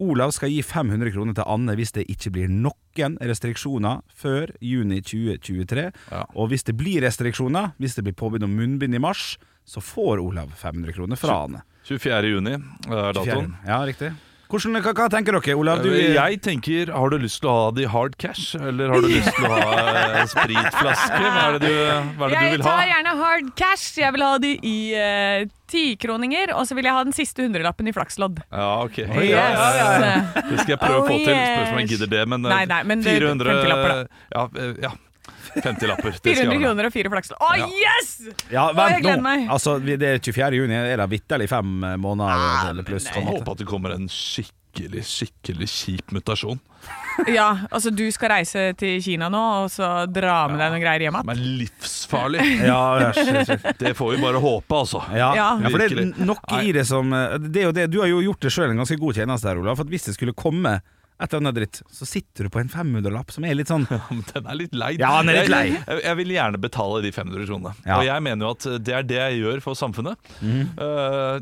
Speaker 4: Olav skal gi 500 kroner til Anne hvis det ikke blir noen restriksjoner før juni 2023.
Speaker 2: Ja.
Speaker 4: Og hvis det blir restriksjoner, hvis det blir påbud om munnbind i mars, så får Olav 500 kroner fra Anne.
Speaker 2: 24. juni er datoen. Eh,
Speaker 4: Ja, riktig. Hvordan, hva, hva tenker dere, Olav? Du,
Speaker 3: eh,
Speaker 2: jeg tenker, har du lyst til å ha det i hard cash, eller har du lyst til å ha eh, spritflaske? Hva er det du, hva er det du
Speaker 3: Jeg
Speaker 2: vil
Speaker 3: tar
Speaker 2: ha?
Speaker 3: gjerne hard cash. Jeg vil ha de i eh, tikroninger, og så vil jeg ha den siste hundrelappen i flakslodd.
Speaker 2: Ja, ok.
Speaker 4: Yes.
Speaker 2: Ja, ja, ja.
Speaker 3: Yes.
Speaker 2: Det skal jeg prøve å
Speaker 3: Oh,
Speaker 2: få til.
Speaker 3: yes.
Speaker 2: Spørs om jeg gidder det, men, eh,
Speaker 3: Nei, nei, men det-
Speaker 2: 400
Speaker 3: 50-lapper,
Speaker 2: Ja, eh, ja. 50-lapper. Det skal
Speaker 3: 400
Speaker 2: jeg ha.
Speaker 3: kroner og fire flakslodd. Å,
Speaker 2: Ja.
Speaker 3: yes!
Speaker 4: Ja,
Speaker 3: Å, jeg
Speaker 4: vent
Speaker 3: gleder
Speaker 4: nå.
Speaker 3: meg.
Speaker 4: Altså, vi- det er 24. juni. Er det vitterlig fem eh, måneder
Speaker 3: Ah,
Speaker 4: eller pluss? på en
Speaker 2: Jeg
Speaker 4: måte?
Speaker 2: håper at det kommer en skikkelig, skikkelig kjip mutasjon.
Speaker 3: Ja, altså du skal reise til Kina nå, og så dra med deg noen greier hjem
Speaker 2: Som
Speaker 3: igjen.
Speaker 2: er livsfarlig.
Speaker 4: Ja, ja, shit, shit.
Speaker 2: Det får vi bare håpe, altså.
Speaker 4: ja. ja,
Speaker 3: Ja.
Speaker 4: for det er
Speaker 2: Virkelig.
Speaker 4: noe i det som eh, det er jo det. Du har jo gjort det sjøl en ganske god tjeneste her, Olav. For at hvis det skulle komme et eller annet dritt, så sitter du på en 500-lapp som er litt sånn
Speaker 2: Ja, men Den er litt lei.
Speaker 4: Ja, den er litt lei.
Speaker 2: Jeg, jeg, jeg vil gjerne betale de 500 kronene.
Speaker 4: Ja. Mhm.
Speaker 2: Og jeg mener jo at det er det jeg gjør for samfunnet. Eh,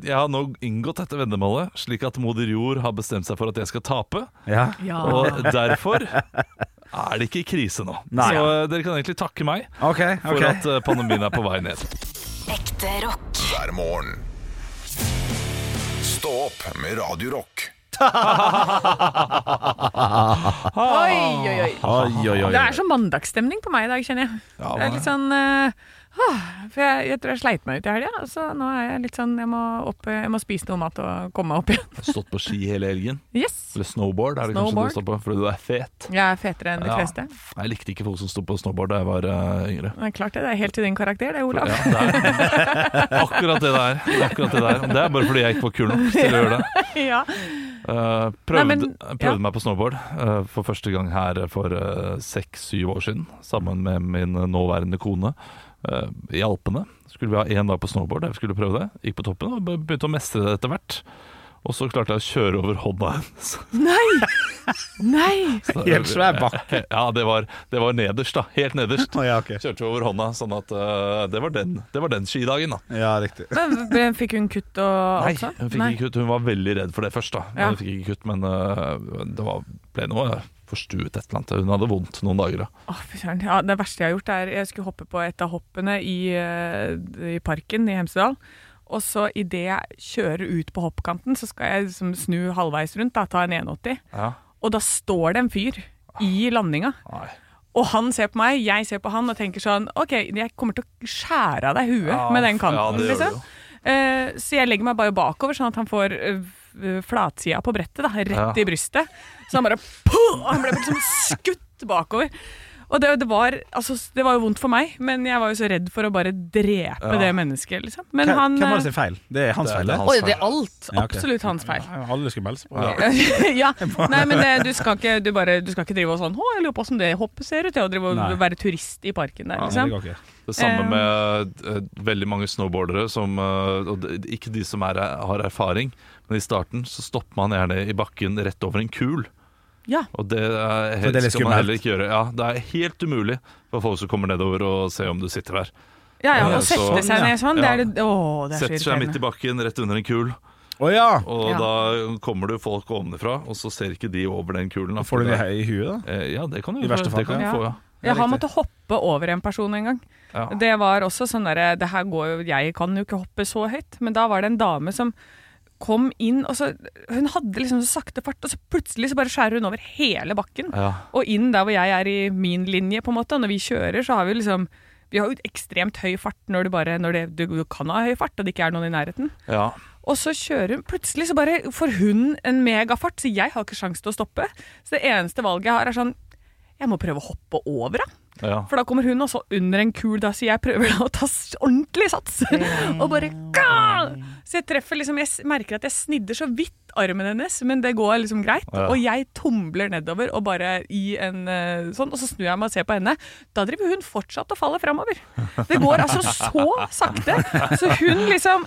Speaker 2: jeg har nå inngått dette vendemålet, slik at moder jord har bestemt seg for at jeg skal tape.
Speaker 4: Ja.
Speaker 3: Ja.
Speaker 2: Og derfor er det ikke krise nå.
Speaker 4: Ah. Nei.
Speaker 2: Så eh, dere kan egentlig takke meg
Speaker 4: OK.
Speaker 2: for
Speaker 4: ok
Speaker 2: at eh, pandemien er på vei ned.
Speaker 5: Ekte rock.
Speaker 1: hver morgen. Stå opp med Radio Rock.
Speaker 3: Oi, oi, oi.
Speaker 4: Oi, oi, oi.
Speaker 3: Det er sånn mandagsstemning på meg i dag, kjenner jeg.
Speaker 2: Ja,
Speaker 3: Det er litt sånn eh, For jeg, jeg tror jeg sleit meg ut i helga, så nå er jeg litt sånn jeg må, opp, jeg må spise noe mat og komme meg opp igjen.
Speaker 2: Stått på ski hele helgen.
Speaker 3: Yes!
Speaker 2: Eller snowboard, er det
Speaker 3: Snowboard.
Speaker 2: kanskje du står på, fordi du er fet.
Speaker 3: Jeg er fetere enn de
Speaker 2: Ja.
Speaker 3: fleste.
Speaker 2: Jeg likte ikke folk som sto på snowboard da jeg var eh, yngre.
Speaker 3: Det er klart det. Det er helt til din karakter, det, Olav.
Speaker 2: Ja, det er akkurat det der. Det er akkurat det der. Det er bare fordi jeg ikke var kul nok til å gjøre det.
Speaker 3: ja.
Speaker 2: Eh, prøvde
Speaker 3: Nei, men-
Speaker 2: jeg
Speaker 3: ja.
Speaker 2: prøvde meg på snowboard eh, for første gang her for eh, seks-syv år siden, sammen med min nåværende kone eh, i Alpene. Skulle vi ha én dag på snowboard, jeg skulle prøve det. Gikk på toppen og be- begynte å mestre det etter hvert. Og så klarte jeg å kjøre over hånda hennes.
Speaker 3: Nei! Nei!
Speaker 2: Så-
Speaker 4: Helt svær bakke.
Speaker 2: Ja, det var, det var nederst, da. Helt nederst.
Speaker 4: Å, ja, ok.
Speaker 2: Kjørte over hånda, sånn at eh, det, var den, det var den skidagen, da.
Speaker 4: Ja, riktig.
Speaker 3: Men ble- fikk hun kutt og
Speaker 2: Nei,
Speaker 3: alt sånt?
Speaker 2: hun fikk ikke kutt. Hun var veldig redd for det først, da. Men
Speaker 3: Ja.
Speaker 2: Hun fikk ikke kutt, men øh, det var, ble noe forstuet et eller annet. Hun hadde vondt noen dager, da.
Speaker 3: Å, fy søren. Ja, det verste jeg har gjort, er jeg skulle hoppe på et av hoppene i, eh, i parken i Hemsedal. Og så idet jeg kjører ut på hoppkanten, så skal jeg liksom snu halvveis rundt, da, ta en 180. Og da står det en fyr i landinga.
Speaker 2: Nei.
Speaker 3: Og han ser på meg, jeg ser på han og tenker sånn OK, jeg kommer til å skjære av deg huet
Speaker 2: Ja,
Speaker 3: med den
Speaker 2: ja,
Speaker 3: kanten,
Speaker 2: det gjør du
Speaker 3: liksom.
Speaker 2: jo.
Speaker 3: Eh, så jeg legger meg bare bakover, sånn at han får eh, f- flatsida på brettet, da, rett
Speaker 2: Ja.
Speaker 3: i brystet. Så han bare puh, og Han ble liksom skutt bakover. Og det, det, var, altså, det var jo vondt for meg, men jeg var jo så redd for å bare drepe
Speaker 2: Ja.
Speaker 3: det mennesket, liksom. Men
Speaker 4: Hvem
Speaker 3: han
Speaker 4: hvem var det
Speaker 3: eh,
Speaker 4: sin feil? Det er hans
Speaker 2: Det er
Speaker 4: feil.
Speaker 2: det
Speaker 4: det.
Speaker 2: hans
Speaker 3: Oi,
Speaker 2: feil.
Speaker 3: det er alt.
Speaker 4: Ja, ok.
Speaker 3: Absolutt hans feil.
Speaker 4: Alle skulle melde seg på.
Speaker 2: Ja.
Speaker 3: ja. Nei, men eh, du skal ikke, du bare, du skal ikke drive og sånn Å, jeg lurer på åssen det hoppet ser ut. Jeg å drive
Speaker 4: Nei.
Speaker 3: og være turist i parken der,
Speaker 4: Nei, det
Speaker 3: liksom.
Speaker 4: går ikke.
Speaker 2: Det samme
Speaker 3: Eh.
Speaker 2: med øh, veldig mange snowboardere som øh, og det- Ikke de som er, har erfaring, men i starten så stopper man gjerne i bakken rett over en kul.
Speaker 3: Ja.
Speaker 2: Og det, er
Speaker 4: For det er
Speaker 2: helt,
Speaker 4: litt
Speaker 2: skal man heller
Speaker 4: skummelt.
Speaker 2: ikke gjøre. Ja, det er helt umulig for folk som kommer nedover og ser om du sitter der.
Speaker 3: ja, ja.
Speaker 2: Ja,
Speaker 3: Å sette
Speaker 2: så-
Speaker 3: seg ned sånn, det er
Speaker 2: Ja.
Speaker 3: det Å, det er så
Speaker 2: Setter seg midt i
Speaker 3: irriterende.
Speaker 2: bakken, rett under en kul.
Speaker 4: Å ja!
Speaker 2: Og
Speaker 3: Ja.
Speaker 2: da kommer det folk ovenfra, og så ser ikke de over den kulen. da,
Speaker 4: Får
Speaker 2: for
Speaker 4: du det
Speaker 2: det-
Speaker 4: her i huet, da?
Speaker 2: Eh, Ja, det kan du
Speaker 4: I verste fall,
Speaker 2: det kan du
Speaker 3: ja.
Speaker 2: få, ja.
Speaker 3: Jeg har
Speaker 4: riktig.
Speaker 3: måttet hoppe over en person en gang.
Speaker 2: ja.
Speaker 3: Det var også sånn derre Det her går jo Jeg kan jo ikke hoppe så høyt, men da var det en dame som kom inn, og så Hun hadde liksom så sakte fart, og så plutselig så bare skjærer hun over hele bakken.
Speaker 2: Ja.
Speaker 3: Og inn der hvor jeg er i min linje, på en måte. Og når vi kjører, så har vi liksom Vi har jo ekstremt høy fart når du bare Når det, du, du kan ha høy fart, og det ikke er noen i nærheten.
Speaker 2: ja.
Speaker 3: Og så kjører hun Plutselig så bare får hun en megafart, så jeg har ikke sjanse til å stoppe. Så det eneste valget jeg har, er sånn Jeg må prøve å hoppe over henne.
Speaker 2: ja.
Speaker 3: For da kommer hun også under en kul, da, så jeg prøver da å ta s- ordentlig sats. og bare «Gah!» Så jeg treffer liksom Jeg s- merker at jeg snidder så vidt armen hennes, men det går liksom greit.
Speaker 2: Ja.
Speaker 3: Og jeg tumler nedover og bare i en eh, sånn, og så snur jeg meg og ser på henne. Da driver hun fortsatt og faller framover. Det går altså så sakte. Så hun liksom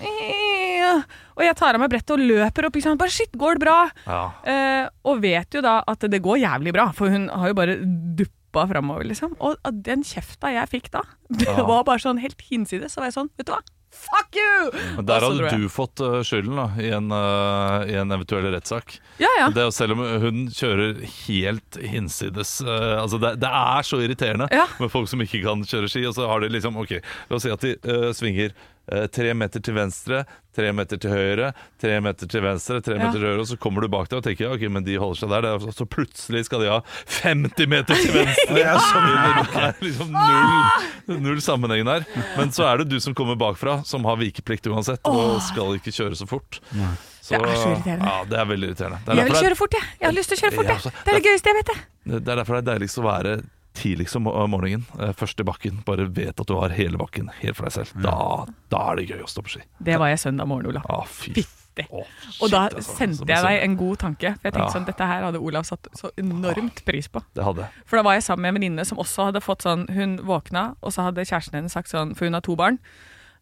Speaker 3: Og jeg tar av meg brettet og løper opp. Ikke sant? Bare shit, går det bra?
Speaker 2: Ja.
Speaker 3: Eh, og vet jo da at det går jævlig bra, for hun har jo bare duppa framover, liksom. Og at den kjefta jeg fikk da, det
Speaker 2: Ja.
Speaker 3: var bare sånn helt hinsides. Så var jeg sånn, vet du hva, fuck you!
Speaker 2: Men
Speaker 3: Og
Speaker 2: der
Speaker 3: så dro
Speaker 2: hadde
Speaker 3: jeg.
Speaker 2: du fått eh, skylden da, i en, eh, i en eventuell rettssak.
Speaker 3: Ja, ja.
Speaker 2: Det er jo Selv om hun kjører helt hinsides eh, altså det, det er så irriterende
Speaker 3: Ja.
Speaker 2: med folk som ikke kan kjøre ski. Og så har de liksom OK, la oss si at de eh, svinger eh, tre meter til venstre, tre meter til høyre, tre meter til venstre, tre
Speaker 3: Ja.
Speaker 2: meter til høyre, og så kommer du bak deg og tenker ja, OK, men de holder seg der. Det er- Så plutselig skal de ha 50 meter til venstre!
Speaker 4: Ja,
Speaker 2: Det er liksom null, null sammenheng der. Men så er det du som kommer bakfra, som har vikeplikt uansett, og skal ikke kjøre så fort. Så,
Speaker 3: Det er så irriterende.
Speaker 2: Ja, det er veldig irriterende. Det er
Speaker 3: Jeg vil
Speaker 2: derfor det er-
Speaker 3: kjøre fort, jeg. Jeg har lyst til å kjøre fort,
Speaker 2: Ja,
Speaker 3: jeg.
Speaker 2: altså,
Speaker 3: Det er det gøyeste jeg vet, jeg.
Speaker 2: det er derfor det er deiligst å være tidligst om om morgenen. eh, Først i bakken. Bare vet at du har hele bakken helt for deg selv. Da, da er det gøy å stå på ski.
Speaker 3: Det var jeg søndag morgen, Olav.
Speaker 2: Å, fy.
Speaker 3: Fitte.
Speaker 2: Å,
Speaker 3: Og da
Speaker 2: shit, altså.
Speaker 3: sendte
Speaker 2: Som
Speaker 3: jeg deg
Speaker 2: sønn.
Speaker 3: en god tanke. For jeg tenkte
Speaker 2: Ja.
Speaker 3: sånn, dette her hadde Olav satt så enormt pris på.
Speaker 2: Det hadde jeg.
Speaker 3: For da var jeg sammen med en venninne som også hadde fått sånn Hun våkna, og så hadde kjæresten hennes sagt sånn For hun har to barn.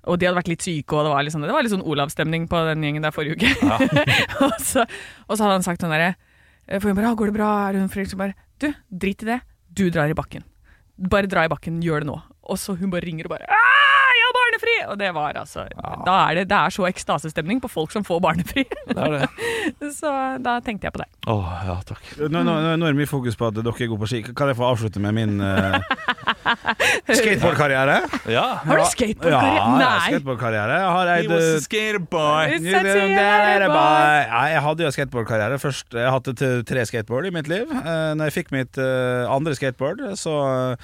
Speaker 3: Og de hadde vært litt syke, og det var litt sånn, det var litt sånn Olav-stemning på den gjengen der forrige uke. og, så, og så hadde han sagt sånn derre For hun bare «Å, 'Går det bra?' Er hun frisk? Så bare 'Du, drit i det. Du drar i bakken. Bare dra i bakken. Gjør det nå.' Og så hun bare ringer og bare «Ah, 'Jeg har barnefri!' Og det var altså Da er det, det er så ekstasestemning på folk som får barnefri.
Speaker 2: Det er det.
Speaker 3: så da tenkte jeg på deg.
Speaker 2: Å, ja, takk.
Speaker 4: Nå, nå, nå nå er det mye fokus på at dere er gode på ski. Kan jeg få avslutte med min eh, skateboardkarriere?
Speaker 2: Ja.
Speaker 3: Har du
Speaker 4: Ja,
Speaker 3: skateboardkarriere?
Speaker 4: jeg har
Speaker 3: Nei!
Speaker 4: skateboardkarriere. Jeg har
Speaker 2: He was a
Speaker 4: eid eh,
Speaker 2: skater boy.
Speaker 3: It's a theater boy.
Speaker 4: Nei, jeg hadde jo skateboardkarriere først. Jeg har hatt t- tre skateboard i mitt liv. Eh, Når jeg fikk mitt eh, andre skateboard, så eh,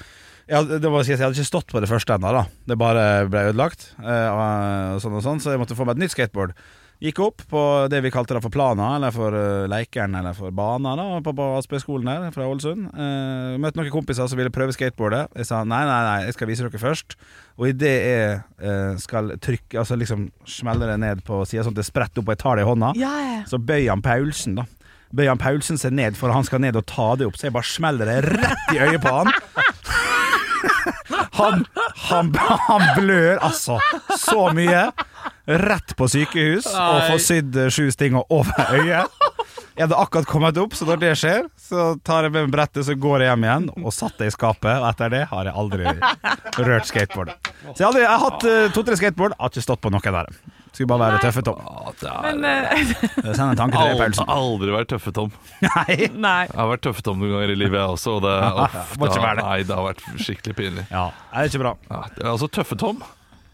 Speaker 4: Ja, det var, skal jeg, si, jeg hadde ikke stått på det første ennå, da. Det bare ble ødelagt. eh, og sånn og sånn, så jeg måtte få meg et nytt skateboard. Gikk opp på det vi kalte da for Plana, eller for eh, Leikeren, eller for Bana, da, på, på Aspøyskolen her fra Ålesund. Eh, møtte noen kompiser som ville prøve skateboardet. Jeg sa nei, nei, nei, jeg skal vise dere først. Og idet jeg eh, skal trykke, altså liksom smelle det ned på sida, sånn at det spretter opp og jeg tar det i hånda,
Speaker 3: Ja, ja.
Speaker 4: så bøyer han Paulsen, da. Bøyer han Paulsen seg ned, for han skal ned og ta det opp, så jeg bare smeller det rett i øyet på han. Han, han, han blør altså så mye. Rett på sykehus og får sydd eh, sju stinger over øyet. Jeg hadde akkurat kommet opp, så når det skjer, så tar jeg med meg brettet så går jeg hjem igjen. Og satt det i skapet, og etter det har jeg aldri rørt skateboard. Så jeg, hadde, jeg har hatt eh, to-tre skateboard, har ikke stått på noen av dem. Skulle bare være tøffe, Tom.
Speaker 2: Ja, det er
Speaker 3: Men eh,
Speaker 4: Send en tanke til deg,
Speaker 2: aldri,
Speaker 4: Paulsen.
Speaker 2: aldri vært tøffe, Tom.
Speaker 4: Nei.
Speaker 3: nei.
Speaker 2: Jeg har vært tøffe Tom noen ganger i livet, jeg også. Og det, uff,
Speaker 4: Ah, Må ikke
Speaker 2: det har-
Speaker 4: være det.
Speaker 2: Nei, det har vært skikkelig pinlig.
Speaker 4: Ja, det er ikke bra.
Speaker 2: Ja, det er altså Tøffe Tom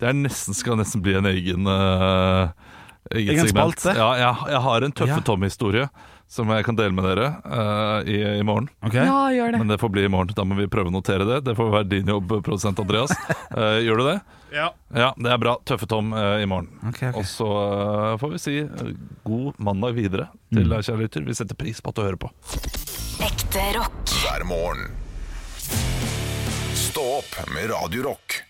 Speaker 2: Det er nesten, skal nesten bli en egen eh, Egen,
Speaker 4: Egen
Speaker 2: segment.
Speaker 4: spalte?
Speaker 2: Ja, jeg, jeg har en Tøffe
Speaker 4: Ja.
Speaker 2: Tom-historie som jeg kan dele med dere eh, i, i morgen.
Speaker 4: Ok?
Speaker 3: Ja, gjør det.
Speaker 2: Men det får bli i morgen. Da må vi prøve å notere det. Det får være din jobb, produsent Andreas. Eh, gjør du det?
Speaker 4: Ja.
Speaker 2: Ja, det er bra. Tøffe Tom eh, i morgen.
Speaker 4: Ok, ok.
Speaker 2: Og så eh, får vi si eh, god mandag videre til
Speaker 4: Mm.
Speaker 2: deg, kjære lytter. Vi setter pris på at du hører på.
Speaker 5: Ekte rock.
Speaker 1: hver morgen. Stå opp med Radio Rock.